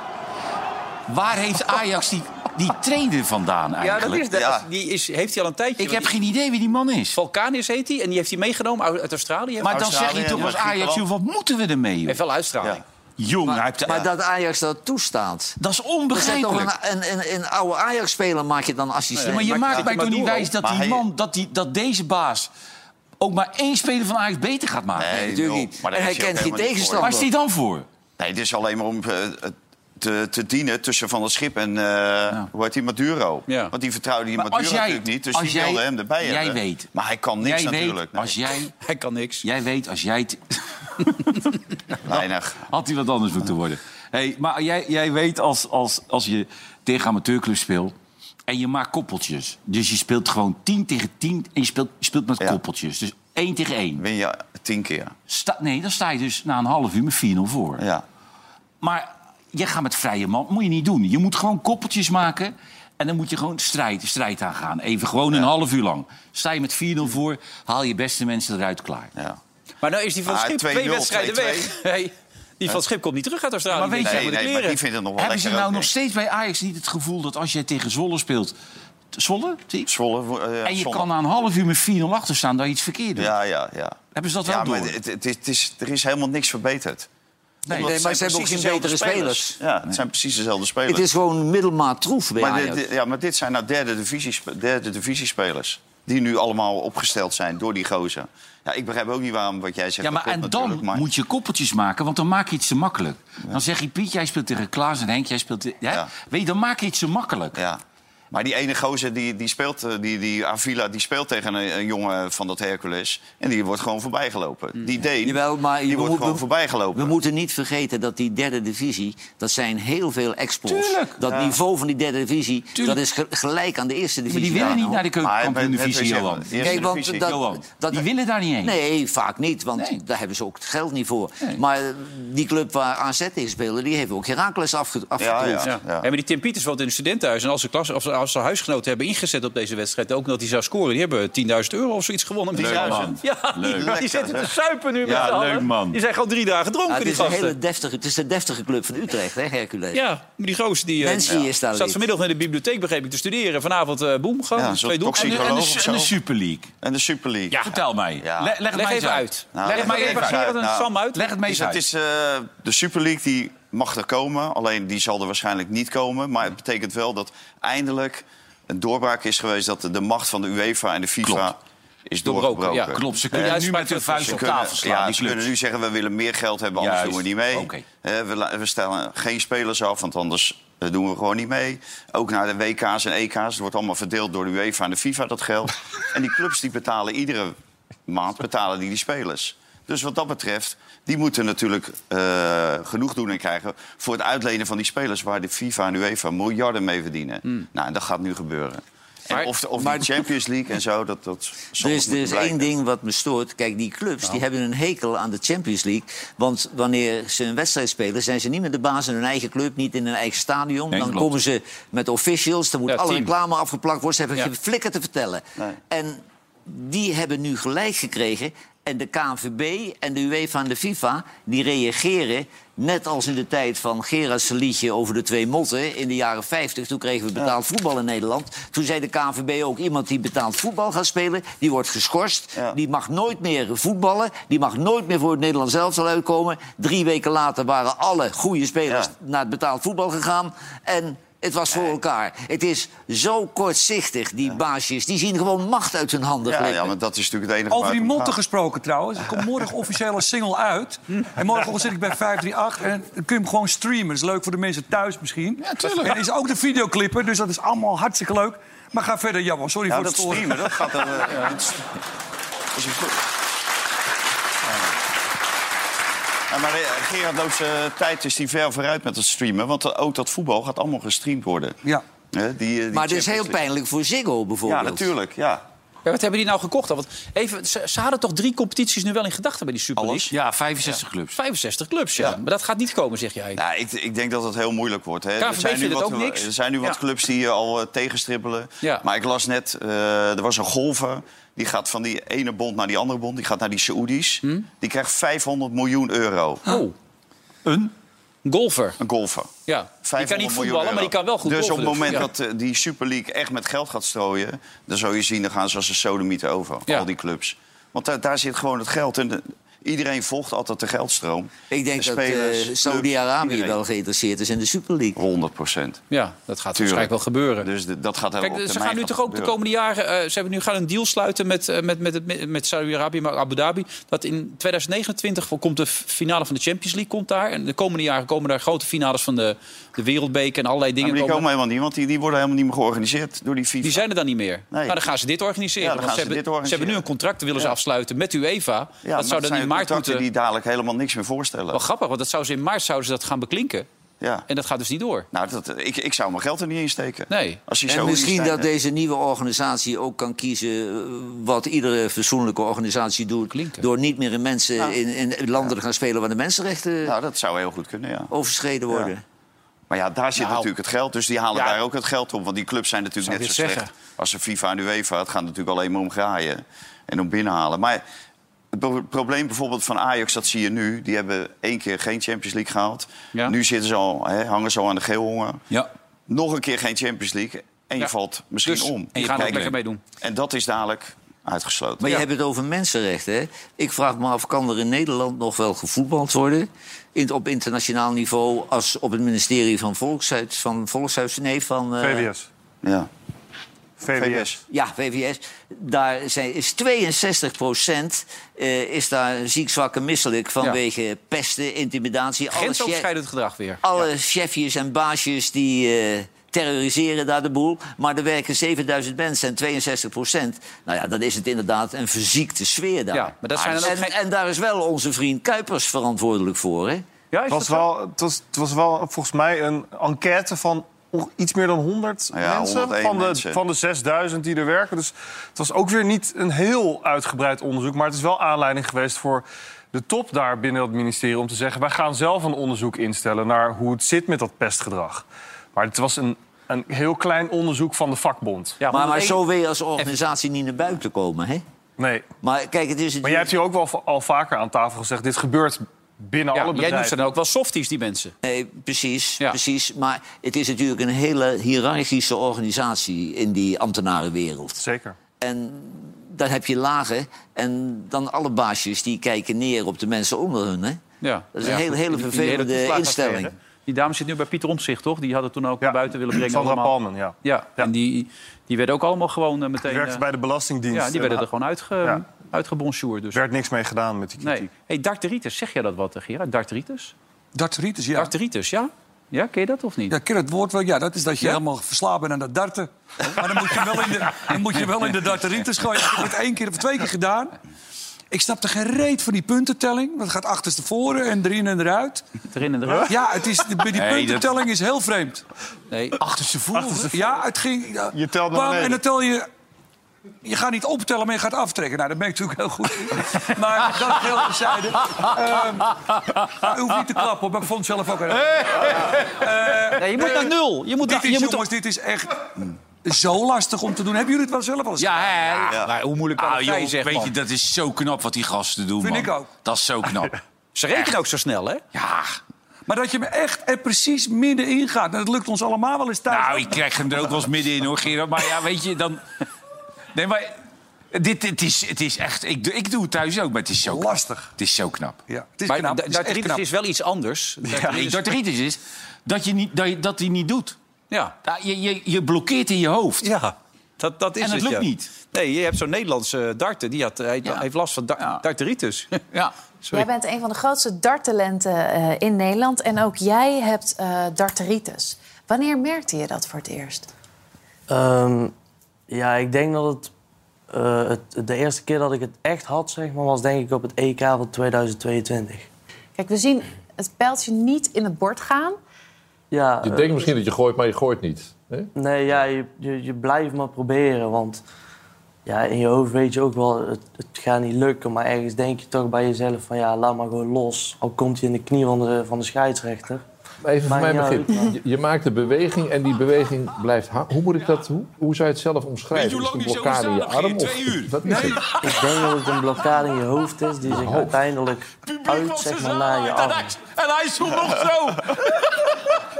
Waar heeft Ajax die, die trainer vandaan
Ja,
eigenlijk?
dat is, dat,
Ja.
Die is, heeft hij al een tijdje.
Ik heb geen idee wie die man is.
Vulcanis heet hij en die heeft hij meegenomen uit uit Australië.
Maar dan
Australië
zeg je
en
toch als Ajax,
Griekenland.
joh, wat moeten we ermee? joh?
heeft wel uitstraling.
Ja.
Jong, hij heeft- eh,
Maar dat Ajax dat toestaat.
dat is
Er zijn toch
onbegrijpelijk.
een, een, een, een oude Ajax-speler maak je dan assistent.
Eh,
Ja, maar je maakt mij
maar
toch niet
door,
wijs dat
Maar
die
hij-
man, dat, die, dat deze baas ook maar één speler van Ajax beter gaat maken.
Nee,
natuurlijk
joh,
niet.
maar daar
En
is
hij
ook
kent geen
helemaal niet voor.
tegenstander.
Waar is die dan voor?
Nee, dit is alleen maar om eh, te, te dienen tussen Van het Schip en, eh hoe heet die, Maduro.
Ja.
Want die vertrouwde die
Maar als
Maduro
jij-
natuurlijk niet, dus
als
die
jij-
wilde hem erbij
jij
hebben.
weet.
Maar hij kan niks
jij
natuurlijk.
Weet,
nee.
als jij,
Hij kan niks.
jij weet, als jij... het-
Weinig.
Had hij wat anders moeten worden. Hey, maar jij, jij weet als, als, als je tegen amateurclubs speelt... en je maakt koppeltjes. Dus je speelt gewoon 10 tegen 10 en je speelt, je speelt met
Ja.
koppeltjes. Dus 1 tegen 1.
Win je tien keer.
Sta, nee, dan sta je dus na een half uur met 4-0 voor.
Ja.
Maar je gaat met vrije man, moet je niet doen. Je moet gewoon koppeltjes maken en dan moet je gewoon strijd, strijd aangaan. Even gewoon een half uur lang. Sta je met 4-0 voor, haal je beste mensen eruit klaar.
ja.
Maar nou is die van
Ah,
Schip twee
2-0,
wedstrijden
2-2.
weg. Hey, die van Schip komt niet terug uit Australië.
Maar weet
Met
je-
Nee,
de
nee, maar
kleren.
die vindt het nog wel
Hebben ze
lekker
nou
ook,
nog
denk
steeds bij Ajax niet het gevoel dat als jij tegen Zwolle speelt... Zwolle? Zie
ik. Zwolle. wo- eh,
en je
Zwolle.
kan na een half uur met 4-0 achter staan dat je iets verkeerd doet.
Ja, ja, ja.
Hebben ze dat
ja,
wel
maar
door?
het, het is, het is, er is helemaal niks verbeterd.
Nee,
Omdat
nee, maar
het
ze hebben ook
precies
geen
dezelfde
betere spelers.
Ja, het zijn precies dezelfde spelers.
Het is gewoon middelmaat troef bij
maar,
Ajax.
dit, dit- ja, maar dit zijn nou derde, divisie, derde divisiespelers. Die nu allemaal opgesteld zijn door die gozer. Ja, ik begrijp ook niet waarom wat jij zegt.
Ja, maar
dat
en
klopt
dan
natuurlijk, maar-
moet je koppeltjes maken, want dan maak je iets te makkelijk. Dan zeg je, Piet, jij speelt tegen Klaas en Henk, jij speelt... te- Hè?
Ja.
Weet je, dan maak je iets te makkelijk.
Ja. Maar die ene gozer, die, die speelt, eh, die, die Avila, die speelt tegen een, een jongen van dat Hercules. En die wordt gewoon voorbijgelopen. Die deed,
Jawel, maar je
die wordt
moet-
gewoon
we-
voorbijgelopen.
We moeten niet vergeten dat die derde divisie, dat zijn heel veel exports.
Tuurlijk.
Dat niveau van die derde divisie,
Tuurlijk.
dat is ge- gelijk aan de eerste
Maar
divisie.
die willen
Ja,
niet
nou.
naar de keukenkampioen-divisie,
Maar-
Johan.
Eerste
Kijk, want
divisie.
dat-
Johan.
dat-
die willen daar niet heen.
Nee, vaak niet, want
Nee.
daar hebben ze ook het geld niet voor.
Nee.
Maar die club waar AZ in speelde, die heeft ook Herakles afge afgetroefd.
ja.
Ja. Ja, maar die Tim Pieters woont in een studentenhuis. En als ze, klas, of als ze huisgenoten hebben ingezet op deze wedstrijd... ook dat hij zou scoren, die hebben 10.000 euro of zoiets gewonnen.
Leuk, man.
Ja, die,
Lekker,
die zitten te
zeg.
suipen nu met
Ja,
z'n allen.
leuk, man.
Die zijn gewoon drie dagen dronken,
Ja, het,
die
is een
gasten.
hele deftige, het is de deftige club van Utrecht, hè, Hercules.
Ja, maar die gozer die, eh,
Nancy is daar
staat
lid.
vanmiddag in de bibliotheek, begreep ik, te studeren. Vanavond, eh boem, gewoon.
Ja,
dus
zo'n
twee doelpunten.
En de, en de,
Psycholoog of
en de
zo.
Super League.
En de Super League.
Vertel mij.
Ja.
Le- leg het
Leg
mij eens
even uit. leg het
leg
maar
het
even
even
uit.
uit. Nou,
Sam uit.
Leg het mij
Dus
eens
het
uit.
is, eh, de Super League die mag er komen, alleen die zal er waarschijnlijk niet komen. Maar het betekent wel dat eindelijk een doorbraak is geweest... dat de, de macht van de UEFA en de FIFA
Klopt.
is
Doorbroken,
doorgebroken.
ja,
Klopt, ze
Ja,
Eh,
kunnen
ja,
nu
ze
met hun
kunnen-
vuist
Ze
op
kunnen-
tafel
ja,
slaan, die
ze kunnen
clubs.
nu zeggen, we willen meer geld hebben, anders
Juist.
doen we niet mee.
Oké.
Hè, we, la- we stellen geen spelers af, want anders eh, doen we gewoon niet mee. Ook naar de WK's en EK's. Het wordt allemaal verdeeld door de UEFA en de FIFA, dat geld. en die clubs die betalen iedere maand betalen die, die spelers. Dus wat dat betreft, die moeten natuurlijk eh genoegdoening krijgen... voor het uitlenen van die spelers... waar de FIFA en UEFA miljarden mee verdienen. Nou, en dat gaat nu gebeuren. En
Maar-
of de, of
Hmm. maar-
de Champions League en zo, dat, dat zal
Er is, Dus
nog
er
moeten
is
blijken.
één ding wat me stoort. Kijk, die clubs die hebben een hekel aan de Champions League. Want wanneer ze een wedstrijd spelen, zijn ze niet meer de baas in hun eigen club, niet in hun eigen stadion.
Nee,
dan
klopt.
komen ze met officials, er moet
Ja,
alle
team.
reclame afgeplakt worden. Ze hebben
Ja.
geen flikker te vertellen. En die hebben nu gelijk gekregen. En de KNVB en de UEFA en de FIFA, die reageren... net als in de tijd van Gerard's liedje over de twee motten... in de jaren 50, toen kregen we betaald voetbal in Nederland. Toen zei de KNVB ook, iemand die betaald voetbal gaat spelen... die wordt geschorst,
Ja.
die mag nooit meer voetballen... die mag nooit meer voor het Nederlands elftal uitkomen. Drie weken later waren alle goede spelers
Ja. Eh.
naar het betaald voetbal gegaan... en het was voor elkaar. Het is zo kortzichtig, die baasjes. Die zien gewoon macht uit hun handen
Ja,
glippen.
ja, maar dat is natuurlijk het enige
Over
waar
die
het om
motten
gaat.
gesproken trouwens. Er komt morgen officieel een single uit. En morgenochtend zit ik bij 538. En dan kun je hem gewoon streamen. Dat is leuk voor de mensen thuis misschien. Ja, tuurlijk. En er is ook de videoclipper. Dus dat is allemaal hartstikke leuk. Maar ga verder, Johan. Sorry
Nou,
voor
dat
het storen.
streamen, dat gaat dan... eh, dat is- is een goed. Ja, maar eh, Gerard loopt zijn tijd is die ver vooruit met het streamen. Want eh, ook dat voetbal gaat allemaal gestreamd worden.
Ja.
Hè, die, eh, die
Maar het is heel
Champions League.
pijnlijk voor Ziggo bijvoorbeeld.
Ja, natuurlijk. Ja.
Ja, wat hebben die nou gekocht dan? Want even, ze, ze hadden toch drie competities nu wel in gedachten bij die Super League?
Ja, 65 clubs.
65 clubs, ja. Maar dat gaat niet komen, zeg jij.
Nou, ik, ik denk dat het heel moeilijk wordt. Hè.
KNVB vindt
wat,
het ook niks.
er zijn nu wat
Ja.
clubs die eh, al eh, tegenstribbelen.
Ja.
Maar ik las net, eh, er was een golfer. Die gaat van die ene bond naar die andere bond. Die gaat naar die Saoedi's. Die krijgt 500 miljoen euro.
Hm? Oh. Een? Golfer.
Een golfer.
Ja. Die kan
500
niet
miljoen
voetballen, maar die
euro.
kan wel goed
Dus op
golfen.
het moment
ja.
dat eh, die Super League echt met geld gaat strooien... dan zou je zien, dan gaan ze als een sodomieten over,
Ja.
al die clubs. Want daar, daar zit gewoon het geld. En de- Iedereen volgt altijd de geldstroom.
Ik denk
De
dat eh,
spelers, clubs,
Saudi-Arabië
iedereen. Oh,
wel geïnteresseerd is in de Super League.
100 procent.
Ja, dat gaat waarschijnlijk wel gebeuren.
Dus de- dat gaat helemaal
Kijk, ze gaan nu toch ook de komende jaren. eh, ze hebben nu gaan een deal sluiten met, eh, met, met, het- met Saudi-Arabië, maar ook Abu Dhabi. Dat in 2029 voor- komt de f- finale van de Champions League komt daar. En de komende jaren komen daar grote finales van de, de Wereldbeker en allerlei dingen.
Maar die komen
komen.
helemaal niet, want die, die worden helemaal niet meer georganiseerd door die FIFA.
Die zijn er dan niet meer.
Nee.
Maar dan gaan ze dit organiseren.
Ja, dan
want
gaan
ze,
ze
hebben,
dit organiseren.
ze hebben nu een contract, willen ze afsluiten met UEFA.
ja,
dat
maar
zou
het
dan
zijn
in maart
contracten
moeten.
die dadelijk helemaal niks meer voorstellen.
Wel grappig, want dat zou ze in maart zouden ze dat gaan beklinken.
Ja.
En dat gaat dus niet door.
Nou, dat, ik, ik zou mijn geld er niet in steken.
Nee.
Als die
En
zo
misschien
zijn,
dat
hè.
deze nieuwe organisatie ook kan kiezen eh, wat iedere fatsoenlijke organisatie doet.
Klinken.
Door niet meer in, mensen, in, in landen te gaan spelen waar de mensenrechten
Nou, dat zou heel goed kunnen, ja.
overschreden worden.
Maar ja, daar zit
Nou.
natuurlijk het geld. Dus die halen
Ja.
daar ook het geld op. Want die clubs zijn natuurlijk
Zou
net zo
ik
slecht
dit
als de FIFA en de UEFA. Het gaat natuurlijk alleen maar om graaien en om binnenhalen. Maar het pro- probleem bijvoorbeeld van Ajax, dat zie je nu. Die hebben één keer geen Champions League gehaald.
Ja.
Nu zitten ze al, hè, hangen ze al aan de geelhonger.
Ja.
Nog een keer geen Champions League. En je
Ja.
valt misschien
Dus,
om.
en je gaat er ook
Kijk,
lekker mee doen.
En dat is dadelijk uitgesloten.
Maar je hebt het over mensenrechten. Hè? Ik vraag me af, kan er in Nederland nog wel gevoetbald worden? In, op internationaal niveau, als op het ministerie van Volkshuis... Van Volkshuis nee, van... eh,
VWS.
Ja.
VWS.
Ja, VVS. Daar zijn, is 62 procent eh, is daar ziek, zwak en misselijk... vanwege pesten, intimidatie. Alle, chef,
Grensoverschrijdend gedrag weer.
alle chefjes en baasjes die... eh, terroriseren daar de boel. Maar er werken 7000 mensen en 62 procent. Nou ja, dan is het inderdaad een verziekte sfeer daar. Ah,
Ja, maar dat zijn dan ook
en,
geen-
en daar is wel onze vriend Kuipers verantwoordelijk voor, hè?
Ja,
Het was, wel, het, was, het was wel volgens mij een enquête van onge- iets meer dan 100
Ja,
mensen,
101
van de,
mensen.
Van de 6000 die er werken. Dus het was ook weer niet een heel uitgebreid onderzoek. Maar het is wel aanleiding geweest voor de top daar binnen het ministerie om te zeggen: wij gaan zelf een onderzoek instellen naar hoe het zit met dat pestgedrag. Maar het was een, een heel klein onderzoek van de vakbond.
Ja,
maar, maar
101
zo wil je als organisatie niet naar buiten komen, hè?
Nee.
Maar kijk, het is...
Maar jij hebt hier ook wel va- al vaker aan tafel gezegd: dit gebeurt binnen
Ja,
alle
jij
bedrijven.
noemt ze nou- dan ook wel softies, die mensen.
Nee, precies,
Ja.
precies. Maar het is natuurlijk een hele hiërarchische organisatie in die ambtenarenwereld.
Zeker.
En dan heb je lagen en dan alle baasjes die kijken neer op de mensen onder hun. Hè?
Ja.
Dat is
Ja,
een hele,
goed.
hele
Die- die hele
vervelende
toeslagenaffaire,
instelling.
hè? Die dame zit nu bij Pieter Omtzigt, toch? Die hadden toen ook naar buiten willen brengen.
Sandra
allemaal.
Palmen, ja.
Ja, en die, die werden ook allemaal gewoon eh, meteen...
Die werkte
eh,
bij de Belastingdienst.
ja, die werden er gewoon uitge,
Ja.
uitgebonsjoerd. Dus.
Er werd niks mee gedaan met die kritiek.
Nee. Hey, darteritis, zeg jij dat wat, eh, Gerard? Darteritis?
Darteritis, ja.
Darteritis, ja? Ja, ken je dat of niet?
Ja, ik ken het woord wel. Ja, dat is dat je
Ja?
helemaal verslaafd bent aan dat darten. Maar dan moet je wel in de, dan moet je wel in de darteritis gooien. Ik heb het één keer of twee keer gedaan. Ik snapte geen reet van die puntentelling. Dat gaat achterstevoren en erin en eruit.
Erin en eruit?
Ja, het is, de, bij die
Nee, dat-
puntentelling is heel vreemd.
Nee.
Achterstevoren? Ja, het ging... ja,
Je telt naar
bam,
beneden.
En dan tel je... Je gaat niet optellen, maar je gaat aftrekken. Nou, dat ben ik natuurlijk heel goed in. Maar dat heel terzijde. Ehm, hoef niet te klappen, hoor, maar ik vond het zelf ook
Eh,
heel erg.
Nee, je moet naar nul. Je moet,
Dit
naar-
is,
je moet
jongens, dit is echt zo lastig om te doen. Hebben jullie het wel zelf al eens
Ja, hè? Maar hoe moeilijk kan
Ah,
het
joh,
zijn, zeg
weet
man.
je, dat is zo knap wat die gasten doen,
Vind
man.
ik ook.
Dat is zo knap.
Ze rekenen ook zo snel, hè?
ja,
Maar dat je me echt er precies middenin gaat. En dat lukt ons allemaal wel eens thuis.
nou, ik krijg hem er ook wel eens midden in, hoor, Gerard. Maar ja, weet je, dan... Nee, maar dit, het is, het is echt... Ik, doe- ik doe het thuis ook, maar het is zo knap.
Lastig.
Het is zo knap.
Ja, het is
Maar
knap.
da-
Het is echt
darteritis
knap.
is wel iets anders.
Ja,
dus-
nee, darteritis is dat hij niet, dat je, dat die niet doet.
Ja.
Ja, Je, je, je blokkeert in je hoofd.
Ja, dat, dat is
En het
het,
lukt
ja.
niet.
Nee, je hebt zo'n Nederlandse eh, darter. Die had, hij
Ja.
heeft last van da-
Ja.
darteritis.
Ja.
Jij bent een van de grootste darttalenten eh, in Nederland. En ook jij hebt eh darteritis. Wanneer merkte je dat voor het eerst?
Ehm, ja, ik denk dat het, eh, het- De eerste keer dat ik het echt had, zeg maar, was denk ik op het EK van 2022.
Kijk, we zien het pijltje niet in het bord gaan.
Ja, eh,
denkt misschien dat je gooit, maar je gooit niet.
nee, ja, je, je, je blijft maar proberen, want ja, in je hoofd weet je ook wel, het, het gaat niet lukken. Maar ergens denk je toch bij jezelf van, ja, laat maar gewoon los. Al komt hij in de knie van de, van de scheidsrechter.
Even voor
Maar
mijn
ja,
begrip. Je, je maakt een beweging en die beweging blijft hangen. Hoe moet ik dat, hoe, hoe zou je het zelf omschrijven? Is het een blokkade in je arm? Of, Wat is het?
Ik denk dat het een blokkade in je hoofd is die zich uiteindelijk uit, zeg maar, naar je
En
af.
hij zoekt nog zo.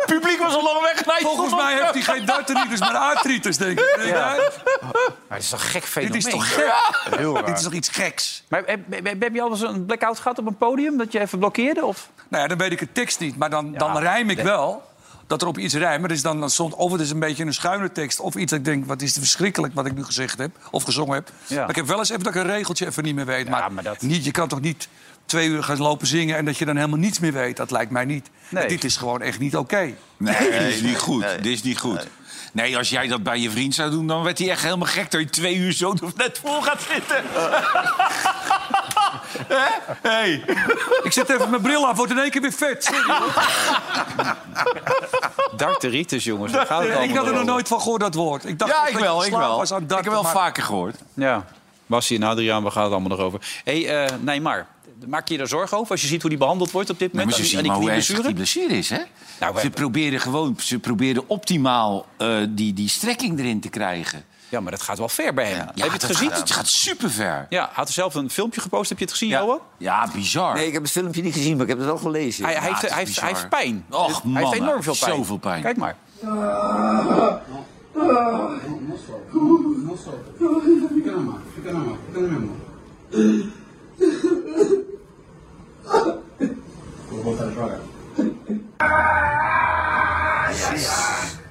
publiek was al lang weg.
Volgens mij heeft hij geen darteritis, maar artritis, denk ik.
Ja. Maar het is toch gek fenomeen?
Dit is toch gek? Dit is toch iets geks?
Maar heb, heb- heb- heb je al eens een blackout gehad op een podium? Dat je even blokkeerde? Of?
Nou ja, dan weet ik de tekst niet, maar dan, dan rijm ik wel. Dat er op iets rijmt. Maar het is dan, dan soms, of het is een beetje een schuine tekst. Of iets dat ik denk, wat is het verschrikkelijk wat ik nu gezegd heb. Of gezongen heb.
Ja.
Maar ik heb wel eens even dat ik een regeltje even niet meer weet. maar niet, je kan toch niet twee uur gaan lopen zingen... en dat je dan helemaal niets meer weet. Dat lijkt mij niet. En dit is gewoon echt niet oké.
Nee, dit is niet goed. Dit is niet goed. Nee. als jij dat bij je vriend zou doen, dan werd hij echt helemaal gek... dat je twee uur zo net vol gaat zitten.
Hè? Hey. Ik zet even mijn bril af, wordt in één keer weer vet. Sorry, hoor.
Darteritis, jongens. Daar gaat het
ik had
allemaal
er nog
over.
nooit van gehoord, dat woord. Ik dacht
Ja,
dat
ik
je
wel, ik
verslaafd
wel.
was aan
Ik
darten,
heb wel
maar-
vaker
gehoord.
Ja. Basie en Adriaan, waar gaat het allemaal nog over? Hé, hey, eh, Neymar, maak je je daar zorgen over als je ziet hoe die behandeld wordt op dit
Dan
moment?
moet je
Aan die-
zien
aan
maar hoe
die
ernstig die
knieblessure?
blessure is, hè?
Nou, we
ze
hebben-
probeerden gewoon ze probeerden optimaal eh, die, die strekking erin te krijgen.
Ja, maar dat gaat wel ver bij hem. Heb je
Ja,
het
dat
gezien?
Gaat, het gaat superver.
Ja, had er zelf een filmpje gepost. Heb je het gezien, Johan?
Ja, bizar.
Nee, ik heb het filmpje niet gezien, maar ik heb het wel gelezen.
Hij, hij, heeft, hij, heeft, hij heeft pijn.
Och,
hij heeft
man,
enorm veel pijn.
zoveel pijn.
Kijk maar.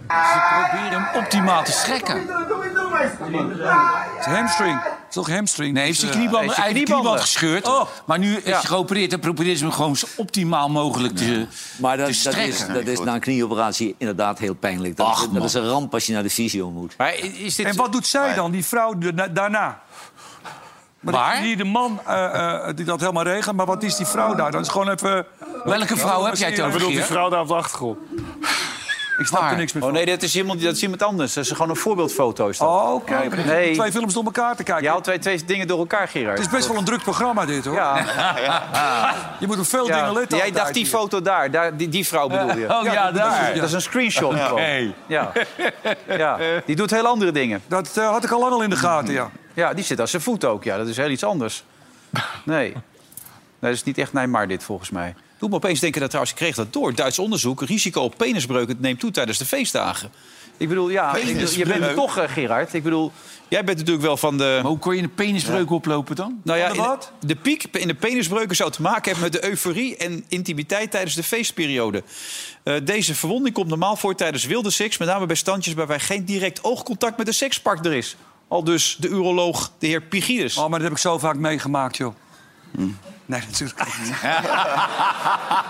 Ze proberen hem optimaal te strekken.
Het is hamstring. Het is toch hamstring?
Nee, heeft zijn knieband, hij Dus, eh, Oh. heeft knieband gescheurd. Maar nu is hij geopereerd en probeert ze hem gewoon zo optimaal mogelijk te,
Maar dat,
te
dat,
strekken.
is, dat is na een knieoperatie inderdaad heel pijnlijk. Dat,
Ach,
dat
man.
is een ramp als je naar de fysio moet.
Maar is dit...
En wat doet zij dan, die vrouw de- na- daarna? Maar, ik zie hier de man eh, eh, die dat helemaal regelt, maar wat is die vrouw daar? Dan is gewoon even...
Welke vrouw heb jij het over,
bedoelt die
Gier?
vrouw daar op de achtergrond?
Ik snap er niks meer
Oh
van.
nee, dat is iemand, dat is iemand anders. Dat is gewoon een voorbeeldfoto. Is dat.
Oh, kijk.
Nee.
Twee films door elkaar te kijken.
Je haalt twee, twee dingen door elkaar, Gerard.
Het is best wel een druk programma dit, hoor.
Ja.
Je moet op veel
Ja,
dingen letten.
Jij dacht
altijd
die
hier.
foto daar, daar die, die vrouw bedoel je?
Eh, oh ja,
dat- dat is-
daar.
Dat is, een screenshot.
Ja.
gewoon.
Hey.
Ja. ja. Die doet heel andere dingen.
Dat eh, had ik al lang al in de gaten, ja.
Ja, die zit aan zijn voet ook. Ja, dat is heel iets anders. Nee. nee dat is niet echt Nijmar dit, volgens mij. Doe me opeens denken dat trouwens, ik kreeg dat door. Duits onderzoek, risico op penisbreuken neemt toe tijdens de feestdagen. Ik bedoel, ja, ik bedoel, je bent er toch, eh, Gerard. Ik bedoel, jij bent natuurlijk wel van de...
Maar hoe kon je een penisbreuk oplopen dan?
Nou ja,
Van de
in-
wat?
de piek in de penisbreuken zou te maken hebben met de euforie en intimiteit tijdens de feestperiode. Eh, deze verwonding komt normaal voor tijdens wilde seks, met name bij standjes waarbij geen direct oogcontact met de sekspartner is. Al dus de uroloog, de heer Pigides.
Oh, maar dat heb ik zo vaak meegemaakt, joh. Nee, natuurlijk niet.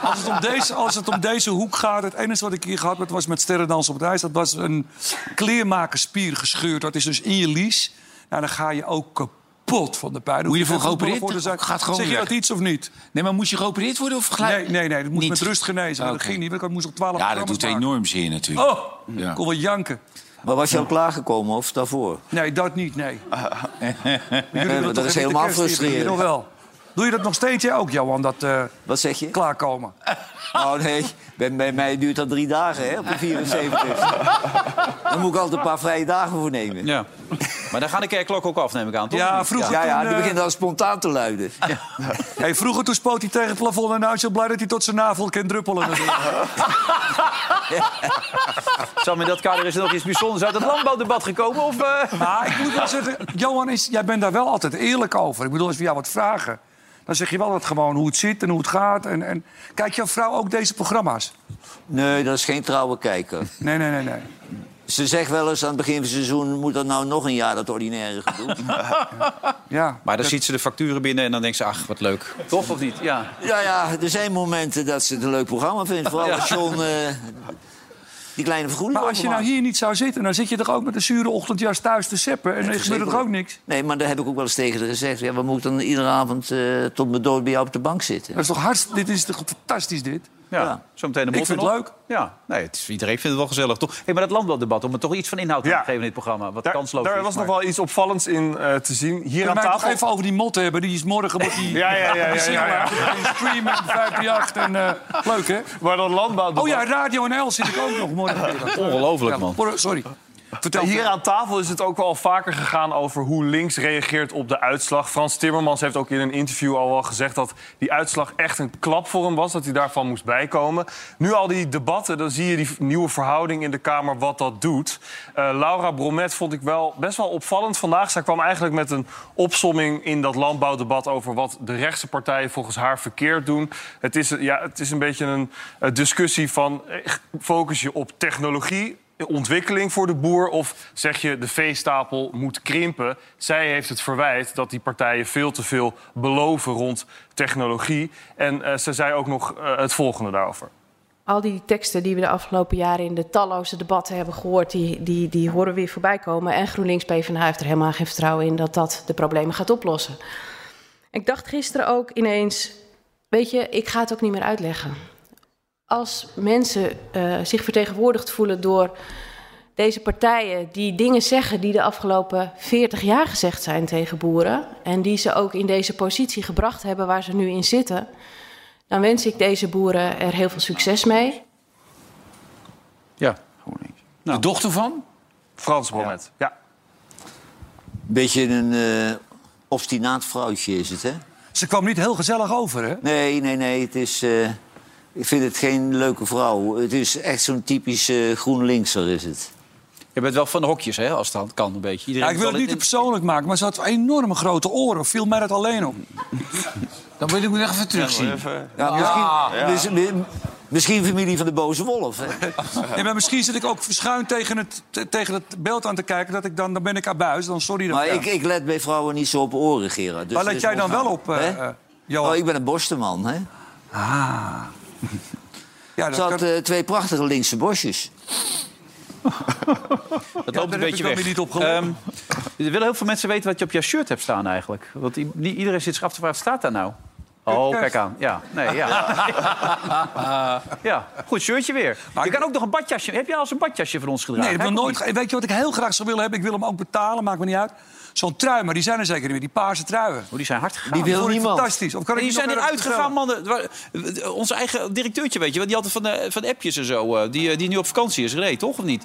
als, het om deze, als het om deze hoek gaat, het enige wat ik hier gehad heb... was met sterrendans op het ijs. Dat was een kleermakerspier gescheurd. Dat is dus in je lies. Nou, dan ga je ook kapot van de pijn.
Hoe je
Hoef
ervoor
geen voetballer
geopereerd?
voor te zijn.
Gaat gewoon
Zeg je
weg.
dat iets of niet?
Nee, maar moest je geopereerd worden of gelijk?
Nee, nee, nee. Dat moest
Niet. Ah,
met rust genezen. Maar
Oké.
dat ging niet, want ik moest op 12
Ja, dat doet
programma's
enorm zeer natuurlijk.
maken. Oh,
Ja.
ik kon wel janken.
Maar was je al klaargekomen of daarvoor?
Nee, dat niet, nee. Maar jullie
Eh,
doen
dat
toch
is
even de
helemaal
kerst hier,
frustrerend.
Nog wel. Doe je dat nog steeds, jij ook, Johan, dat eh,
Wat zeg je?
klaarkomen?
Oh nee, bij, bij mij duurt dat drie dagen, hè, op de 74. Dan moet ik altijd een paar vrije dagen voor nemen.
Ja. Maar daar gaan de kerkklok ook af, neem ik aan, toch?
Ja, vroeger
Ja, ja,
toen,
die
eh,
begint dan spontaan te luiden.
hey, vroeger toen spoot hij tegen het plafond... en nou is hij blij dat hij tot zijn navel kan druppelen.
Sam, in dat kader is er nog iets bijzonders uit het landbouwdebat gekomen? Of, eh?
maar Nou, ik moet wel zeggen, Johan, is, jij bent daar wel altijd eerlijk over. Ik bedoel, als we jou wat vragen... dan zeg je wel dat gewoon hoe het zit en hoe het gaat. En, en... Kijkt jouw vrouw ook deze programma's?
Nee, dat is geen trouwe kijker.
Nee, nee, nee, nee.
Ze zegt wel eens aan het begin van het seizoen... moet dat nou nog een jaar, dat ordinaire gedoe?
Ja.
Maar dan ziet ze de facturen binnen en dan denkt ze, ach, wat leuk. Toch of niet? Ja.
Ja, ja, er zijn momenten dat ze het een leuk programma vindt. Vooral als John eh, die kleine vergroening
Maar als je nou
overmaakt.
hier niet zou zitten... dan zit je toch ook met een zure ochtendjas thuis te seppen... en dan gebeurt er toch ook niks?
Nee, maar daar heb ik ook wel eens tegen haar gezegd. Ja, wat moet ik dan iedere avond eh, tot mijn dood bij jou op de bank zitten?
Dat is toch hartst... Dit is toch fantastisch, dit?
Ja,
Ja.
zometeen de
Ik
motten
vind het
op. Ja, nee, het is, iedereen vindt het wel gezellig, toch? Hey, maar dat landbouwdebat, om er toch iets van inhoud aan
Ja.
te geven in dit programma. Wat
Daar,
kansloos
daar
is,
was
maar-
nog wel iets opvallends in eh, te zien. Hier aan
Kun je mij toch
tafel.
even over die mot hebben? Die is morgen wordt die
Ja, ja, ja, ja,
die
ja,
single
ja.
uit. Die streamen, 538 en eh, leuk hè?
Waar dat landbouw.
Oh ja, Radio NL zit ik ook nog morgen.
Ongelooflijk, man.
Sorry. Vertel
Hier aan tafel is het ook wel vaker gegaan over hoe links reageert op de uitslag. Frans Timmermans heeft ook in een interview al wel gezegd dat die uitslag echt een klap voor hem was. Dat hij daarvan moest bijkomen. Nu al die debatten, dan zie je die nieuwe verhouding in de Kamer wat dat doet. Eh, Laura Bromet vond ik wel best wel opvallend vandaag. Zij kwam eigenlijk met een opsomming in dat landbouwdebat over wat de rechtse partijen volgens haar verkeerd doen. Het is, ja, het is een beetje een eh, discussie van eh, focus je op technologie ontwikkeling voor de boer? Of zeg je de veestapel moet krimpen? Zij heeft het verwijt dat die partijen veel te veel beloven rond technologie. En eh, ze zei ook nog eh, het volgende daarover.
Al die teksten die we de afgelopen jaren in de talloze debatten hebben gehoord, die, die, die horen weer voorbij komen. En GroenLinks PvdA heeft er helemaal geen vertrouwen in dat dat de problemen gaat oplossen. Ik dacht gisteren ook ineens, weet je, ik ga het ook niet meer uitleggen. Als mensen eh, zich vertegenwoordigd voelen door deze partijen die dingen zeggen die de afgelopen 40 jaar gezegd zijn tegen boeren en die ze ook in deze positie gebracht hebben waar ze nu in zitten, dan wens ik deze boeren er heel veel succes mee.
Ja.
De dochter van?
Frans Bromet. Ja.
Beetje een eh, obstinaat vrouwtje is het, hè?
Ze kwam niet heel gezellig over, hè?
Nee, nee, nee. Het is, eh, ik vind het geen leuke vrouw. Het is echt zo'n typisch eh GroenLinkser, is het.
Je bent wel van de hokjes, hè, als het kan een beetje. Iedereen
Ja, ik wil het niet te persoonlijk maken, maar ze had enorme grote oren. Viel mij dat alleen op.
Dan wil ik me echt even terugzien.
Ah.
Ja, misschien, mis- mi- misschien familie van de boze wolf. Hè?
Ja, maar misschien zit ik ook verschuin tegen het, te- tegen het beeld aan te kijken. Dat ik dan, dan ben ik abuis. Dan sorry. dat-
Maar
ja.
ik, ik let bij vrouwen niet zo op oren, Gerard. Dus
Waar let
dat is
jij dan wel op, eh,
Hè?
eh,
oh, ik ben een borstenman, hè? Ah.
Ja,
Ze had eh, twee prachtige linkse borstjes.
Dat
Ja,
loopt
daar
een
heb
beetje
ik wel
weg.
weer niet op gelet.
Ehm, er willen heel veel mensen weten wat je op jouw shirt hebt staan eigenlijk. Want i- niet iedereen zit zich af te vragen, wat staat daar nou? Oh,
Kutkerst.
kijk aan. Ja, nee, ja. ja, goed shirtje weer. je kan ook nog een badjasje... Heb jij al eens een badjasje van ons gedragen?
Nee, dat heb ik
Heb
nog
je
nooit. ge- Weet je wat ik heel graag zou willen hebben? Ik wil hem ook betalen, maakt me niet uit. Zo'n trui, maar die zijn er zeker niet meer. Die paarse truien.
Oh, die zijn hard gegaan.
Die wil niemand. Fantastisch. Of kan ik
En die
die
zijn
nog
eruit
ergens
gegaan, man. Het wa- Onze eigen directeurtje, weet je wel. Die had het van, de, van appjes en zo. eh, Die, eh, die nu op vakantie is gereden, toch? Of niet?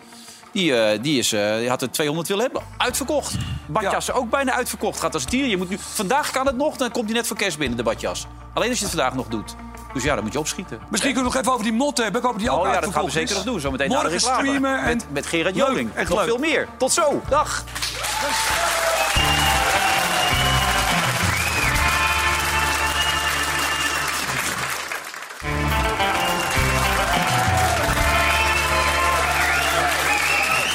Die, eh, die, is, eh, die had er 200 willen hebben. Uitverkocht. Badjassen ook bijna uitverkocht. Gaat als het hier. Je moet nu, vandaag kan het nog, dan komt hij net voor kerst binnen, de badjas. Alleen als je het vandaag nog doet. Dus ja, dan moet je opschieten.
Misschien kunnen we nog even over die motten hebben. Ik hoop dat die ook
Oh ja, dat gaan we
uitverkocht
zeker
is.
nog doen. Zometeen na de
Morgen
reclame.
streamen. En...
Met, met Gerard
Leuk,
Joling.
echt
nog
leuk.
veel meer. Tot zo. Dag.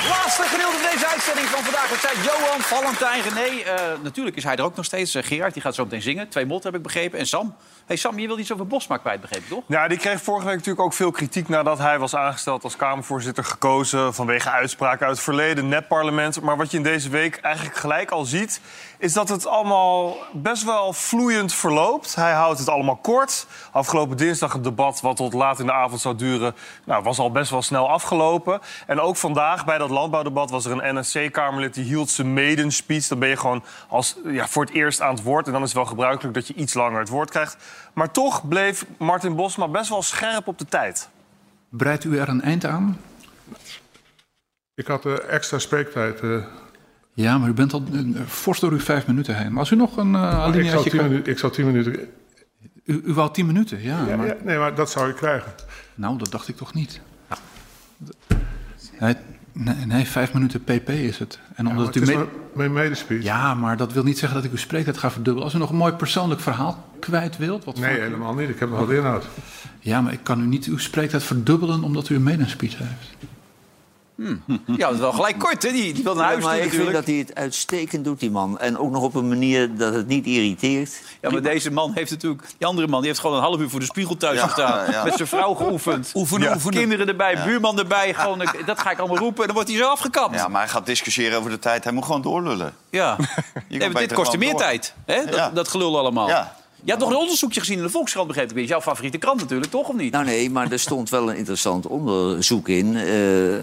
Laatste gedeelte van deze uitzending van vandaag. Het zijn Johan, Valentijn, René. Eh, natuurlijk is hij er ook nog steeds. Eh, Gerard die gaat zo meteen zingen. Twee motten heb ik begrepen. En Sam. hey Sam, je wil iets over Bosma kwijt, begrepen, toch?
Nou, die kreeg vorige week natuurlijk ook veel kritiek nadat hij was aangesteld als Kamervoorzitter gekozen vanwege uitspraken uit het verleden, nepparlement. Maar wat je in deze week eigenlijk gelijk al ziet, is dat het allemaal best wel vloeiend verloopt. Hij houdt het allemaal kort. Afgelopen dinsdag het debat wat tot laat in de avond zou duren, nou, was al best wel snel afgelopen. En ook vandaag bij dat landbouwdebat was er een NSC-Kamerlid die hield zijn maiden speech. Dan ben je gewoon als, ja, voor het eerst aan het woord. En dan is het wel gebruikelijk dat je iets langer het woord krijgt. Maar toch bleef Martin Bosma best wel scherp op de tijd.
Breidt u er een eind aan?
Ik had eh, extra spreektijd. eh.
Ja, maar u bent al eh, fors door uw vijf minuten heen. Maar als u nog een eh
Maar ik, zou
alineaatje
tien
kan-
minuten, ik zou tien minuten.
U, u wou tien minuten, ja.
Ja,
maar...
ja, nee, maar dat zou ik krijgen.
Nou, dat dacht ik toch niet. Nee, nee, nee, vijf minuten pp is het. En
maar
omdat
het is
u
maar mijn medespeech.
Ja, maar dat wil niet zeggen dat ik uw spreektijd ga verdubbelen. Als u nog een mooi persoonlijk verhaal kwijt wilt... Wat
Nee, helemaal niet. Ik heb nog wat inhoud.
Ja, maar ik kan u niet uw spreektijd verdubbelen omdat u een medenspeech heeft.
Ja, dat is wel gelijk kort, hè? Die, die wil naar
Ja,
huis
maar
toe,
ik vind
natuurlijk.
dat hij het uitstekend doet, die man. En ook nog op een manier dat het niet irriteert.
Ja, maar deze man heeft natuurlijk... Die andere man die heeft gewoon een half uur voor de spiegel thuis
Ja,
gestaan.
ja.
Met zijn vrouw geoefend.
Oefenen,
Ja.
oefenen.
Kinderen erbij,
Ja.
buurman erbij. Gewoon, eh, dat ga ik allemaal roepen. En dan wordt hij zo afgekapt.
Ja, maar hij gaat discussiëren over de tijd. Hij moet gewoon doorlullen.
Ja.
Je
Nee,
kan
maar dit
beter
kostte
gewoon
meer
door.
tijd, hè? Dat,
Ja.
dat gelul allemaal.
Ja.
Je had nog een onderzoekje gezien in de Volkskrant, begreep ik. Dat is jouw favoriete krant natuurlijk, toch? Of niet?
Nou nee, maar er stond wel een interessant onderzoek in... eh,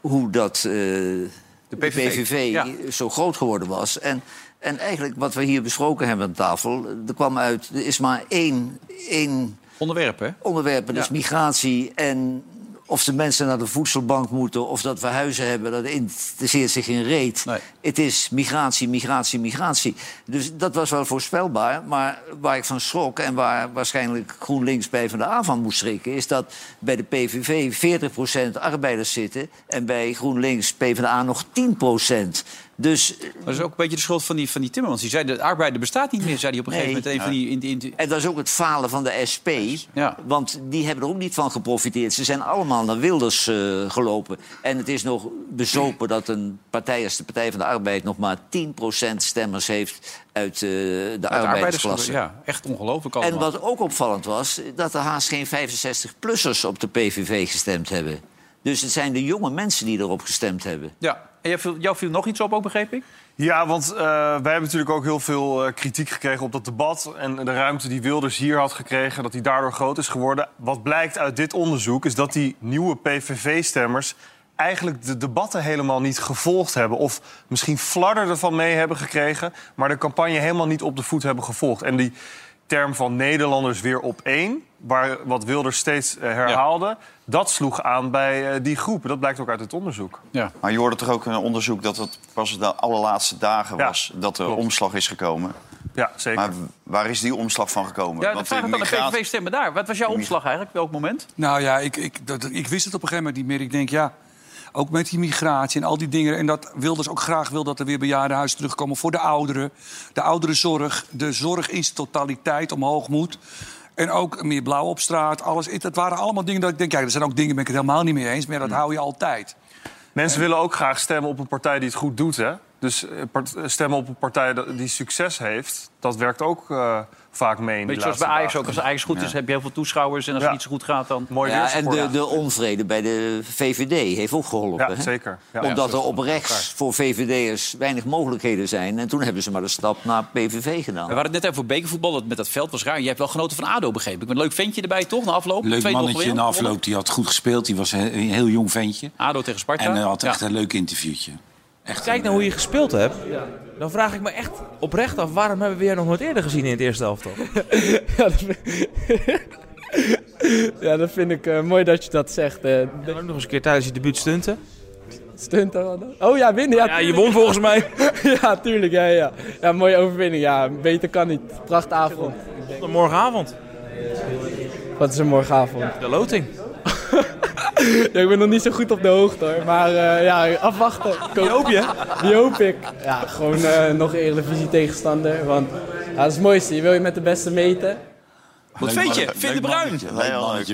hoe dat eh, de PVV,
ja.
zo groot geworden was. En, en eigenlijk wat we hier besproken hebben aan tafel... eh, er kwam uit, er is maar één, één
Onderwerp, hè?
onderwerp... en dat is
Ja.
migratie dus en of de mensen naar de voedselbank moeten of dat we huizen hebben, dat interesseert zich geen reet. Het is migratie, migratie, migratie. Dus dat was wel voorspelbaar. Maar waar ik van schrok en waar waarschijnlijk GroenLinks bij van de A van moest schrikken, is dat bij de PVV 40% arbeiders zitten en bij GroenLinks PvdA nog 10%. Dus,
Maar dat is ook een beetje de schuld van die, van die Timmermans. Die zei, de arbeider bestaat niet meer, zei hij op een gegeven moment. Een van die, in, die- in die-
En dat is ook het falen van de SP. Want die hebben er ook niet van geprofiteerd. Ze zijn allemaal naar Wilders eh, gelopen. En het is nog bezopen dat een partij als de Partij van de Arbeid... nog maar 10% stemmers heeft uit eh, de
uit de
arbeidersklasse.
Ja, echt ongelooflijk allemaal.
En wat ook opvallend was, dat er haast geen 65-plussers op de PVV gestemd hebben. Dus het zijn de jonge mensen die erop gestemd hebben.
Ja, en jij viel- jou viel nog iets op ook, begreep ik?
Ja, want eh, wij hebben natuurlijk ook heel veel eh, kritiek gekregen op dat debat. En de ruimte die Wilders hier had gekregen, dat die daardoor groot is geworden. Wat blijkt uit dit onderzoek is dat die nieuwe PVV-stemmers eigenlijk de debatten helemaal niet gevolgd hebben. Of misschien fladder ervan mee hebben gekregen, maar de campagne helemaal niet op de voet hebben gevolgd. En die term van Nederlanders weer op één, waar, wat Wilders steeds eh, herhaalde... dat sloeg aan bij eh, die groepen. Dat blijkt ook uit het onderzoek.
Maar je hoorde toch ook in een onderzoek dat het pas de allerlaatste dagen was dat er omslag is gekomen.
Ja, zeker.
Maar waar is die omslag van gekomen?
Ja, dat
Want
vraag ik
de
dan de
migratie-
PVV-stemmen daar. Wat was jouw omslag eigenlijk? Welk moment?
Nou ja, ik, ik, dat, ik wist het op een gegeven moment niet meer. Ik denk, ja, ook met die migratie en al die dingen. En dat Wilders ook graag wil dat er weer bejaardenhuizen terugkomen voor de ouderen. De ouderenzorg, de zorg in zijn totaliteit omhoog moet. En ook meer blauw op straat, alles. Het- Het waren allemaal dingen dat ik denk, ja, er zijn ook dingen ben ik het helemaal niet mee eens. Maar ja, dat
Hmm.
hou je altijd.
Mensen willen ook graag stemmen op een partij die het goed doet, hè? Dus eh, part- eh, stemmen op een partij dat- die succes heeft, dat werkt ook eh, vaak mee in
Weet je,
de
zoals bij Ajax ook. Als Ajax goed is, heb je heel veel toeschouwers. En als het niet zo goed gaat, dan...
Mooi
Ja, en de, de onvrede bij de VVD heeft ook geholpen.
Ja,
hè?
zeker. Ja. Ja,
Omdat
dat
er
is
op rechts voor VVD'ers weinig mogelijkheden zijn. En toen hebben ze maar de stap naar PVV gedaan.
We hadden het net even voor bekervoetbal. Dat met dat veld was raar. Jij hebt wel genoten van ADO, begreep ik. Met een leuk ventje erbij, toch? Na afloop.
Leuk
2-0
mannetje in
gewonnen.
de afloop. Die had goed gespeeld. Die was een een heel jong ventje.
ADO tegen Sparta.
En hij had echt een leuk interviewtje. Echt
Kijk naar hoe je gespeeld hebt. Dan vraag ik me echt oprecht af, waarom hebben we je nog nooit eerder gezien in het eerste elftal?
Ja, dat vind ik eh, mooi dat je dat zegt. eh
ook nog eens een keer tijdens je debuut stunten.
stunt dan wel, hè? Oh ja, winnen. Ja,
Ja, je
tuurlijk.
won volgens mij.
ja, tuurlijk. Ja, ja. ja, mooie overwinning. Ja, beter kan niet. Prachtavond.
Tot morgenavond.
Wat is er morgenavond?
De loting.
Ja, ik ben nog niet zo goed op de hoogte hoor. Maar eh, ja, afwachten. Die hoop je? Die hoop ik. Ja, gewoon eh, nog Eredivisie tegenstander. Want ja, dat is het mooiste. Je wil je met de beste meten.
Wat vind je? Vind de Bruin.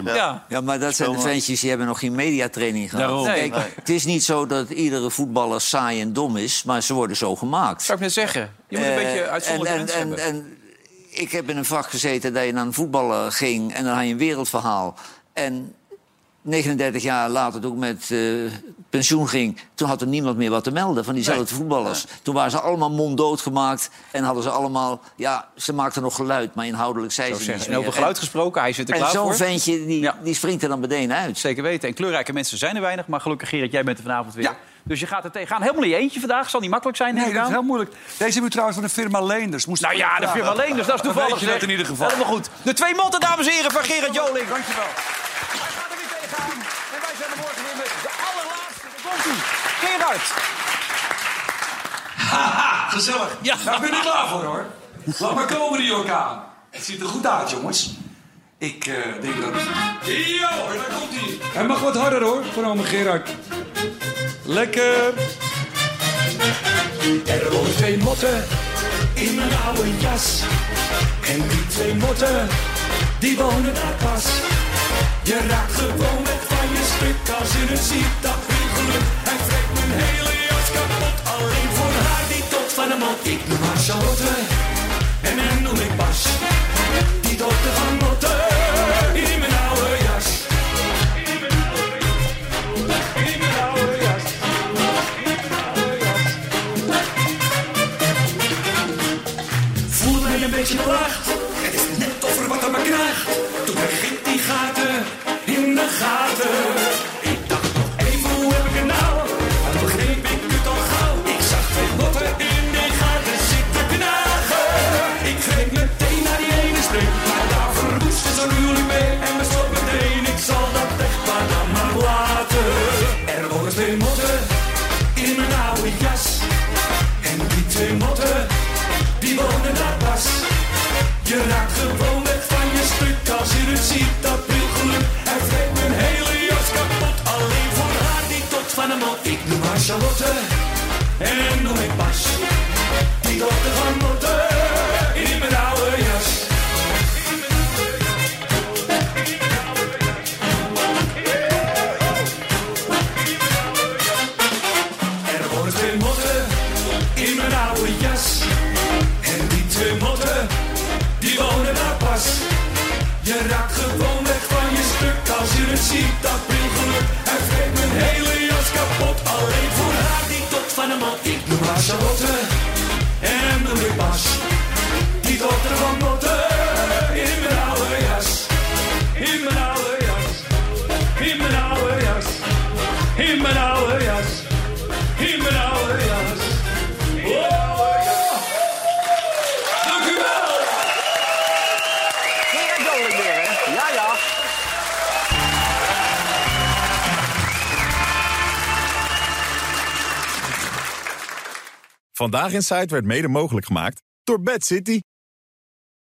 Ja.
Ja, maar dat zijn de ventjes die hebben nog geen mediatraining gehad.
Daarom.
Kijk,
Nee.
Het is niet zo dat iedere voetballer saai en dom is, maar ze worden zo gemaakt.
Zou ik net zeggen. Je moet een
Eh,
beetje uitzonderlijke
en-
mensen
en-
hebben.
en- en ik heb in een vak gezeten dat je naar een voetballer ging en dan had je een wereldverhaal. En 39 jaar later, toen ik met eh, pensioen ging, toen had er niemand meer wat te melden van diezelfde voetballers. Toen waren ze allemaal monddood gemaakt en hadden ze allemaal, ja, ze maakten nog geluid, maar inhoudelijk
Zo
zeiden ze
zeggen
niets
ze. En over
meer.
geluid gesproken, hij zit er
en
klaar
zo'n
voor.
ventje, die, die springt er dan meteen uit.
Zeker weten. En kleurrijke mensen zijn er weinig. Maar gelukkig, Gerrit, jij bent er vanavond weer. Dus je gaat er tegenaan. Helemaal niet eentje vandaag. Zal niet makkelijk zijn.
Nee,
neem ik
dat is
aan.
heel moeilijk. Deze hebben we trouwens van de firma Leenders. Moest
Nou ja, de firma Leenders, dat is
Dan
toevallig.
weet je dat
zeg.
in ieder geval.
Helemaal goed. De twee motten, dames en heren, van Gerrit Joling.
Dankjewel.
En wij zijn er morgen weer met de allerlaatste. Daar komt ie. Gerard.
Haha, gezellig. Ja. Daar ben ik klaar voor hoor. Laat maar komen die orkaan. Het ziet er goed uit jongens. Ik eh, denk dat... Ja hoor, daar komt hij. Hij mag wat harder hoor, voor ome Gerard. Lekker.
Er wonen twee motten in mijn oude jas. En die twee motten, die wonen daar pas. Je raakt gewoon weg van je stuk als je het ziet, dat wil geluk. Hij trekt mijn hele jas kapot, alleen voor haar die tot van hem mot. Ik noem haar Charlotte en hem noem ik Bas. Die dochter van motten in mijn oude jas. In mijn oude jas. In mijn oude jas. In mijn oude jas. Voelde mij een beetje belacht. Het is net of er wat aan me knaagt. Toen begint die gaten in de gaten. Ik dacht nog even, hoe heb ik het nou? Maar toen begreep ik het al gauw. Ik zag twee botten in de gaten zitten knagen. Ik greep meteen naar die ene streep. Maar daar veranderde
Charlotte en nog een Bas. Die dochter van Lotte in mijn oude jas. Er wonen twee motten in mijn oude jas. En die twee motten, die wonen daar pas. Je raakt gewoon weg van je stuk als je het ziet, dat pril geluk. Hij vreet mijn hele jas kapot, alleen voor haar die tot van hem al. Ik noem haar Charlotte en noem ik Bas. Die dochter van Motte in mijn oude jas. In mijn oude jas. In mijn oude jas. In mijn oude jas. In mijn oude jas. Oh! Dank u wel!
Heerlijk weer, hè? Ja, ja.
Vandaag in Zuid werd mede mogelijk gemaakt door Bad City.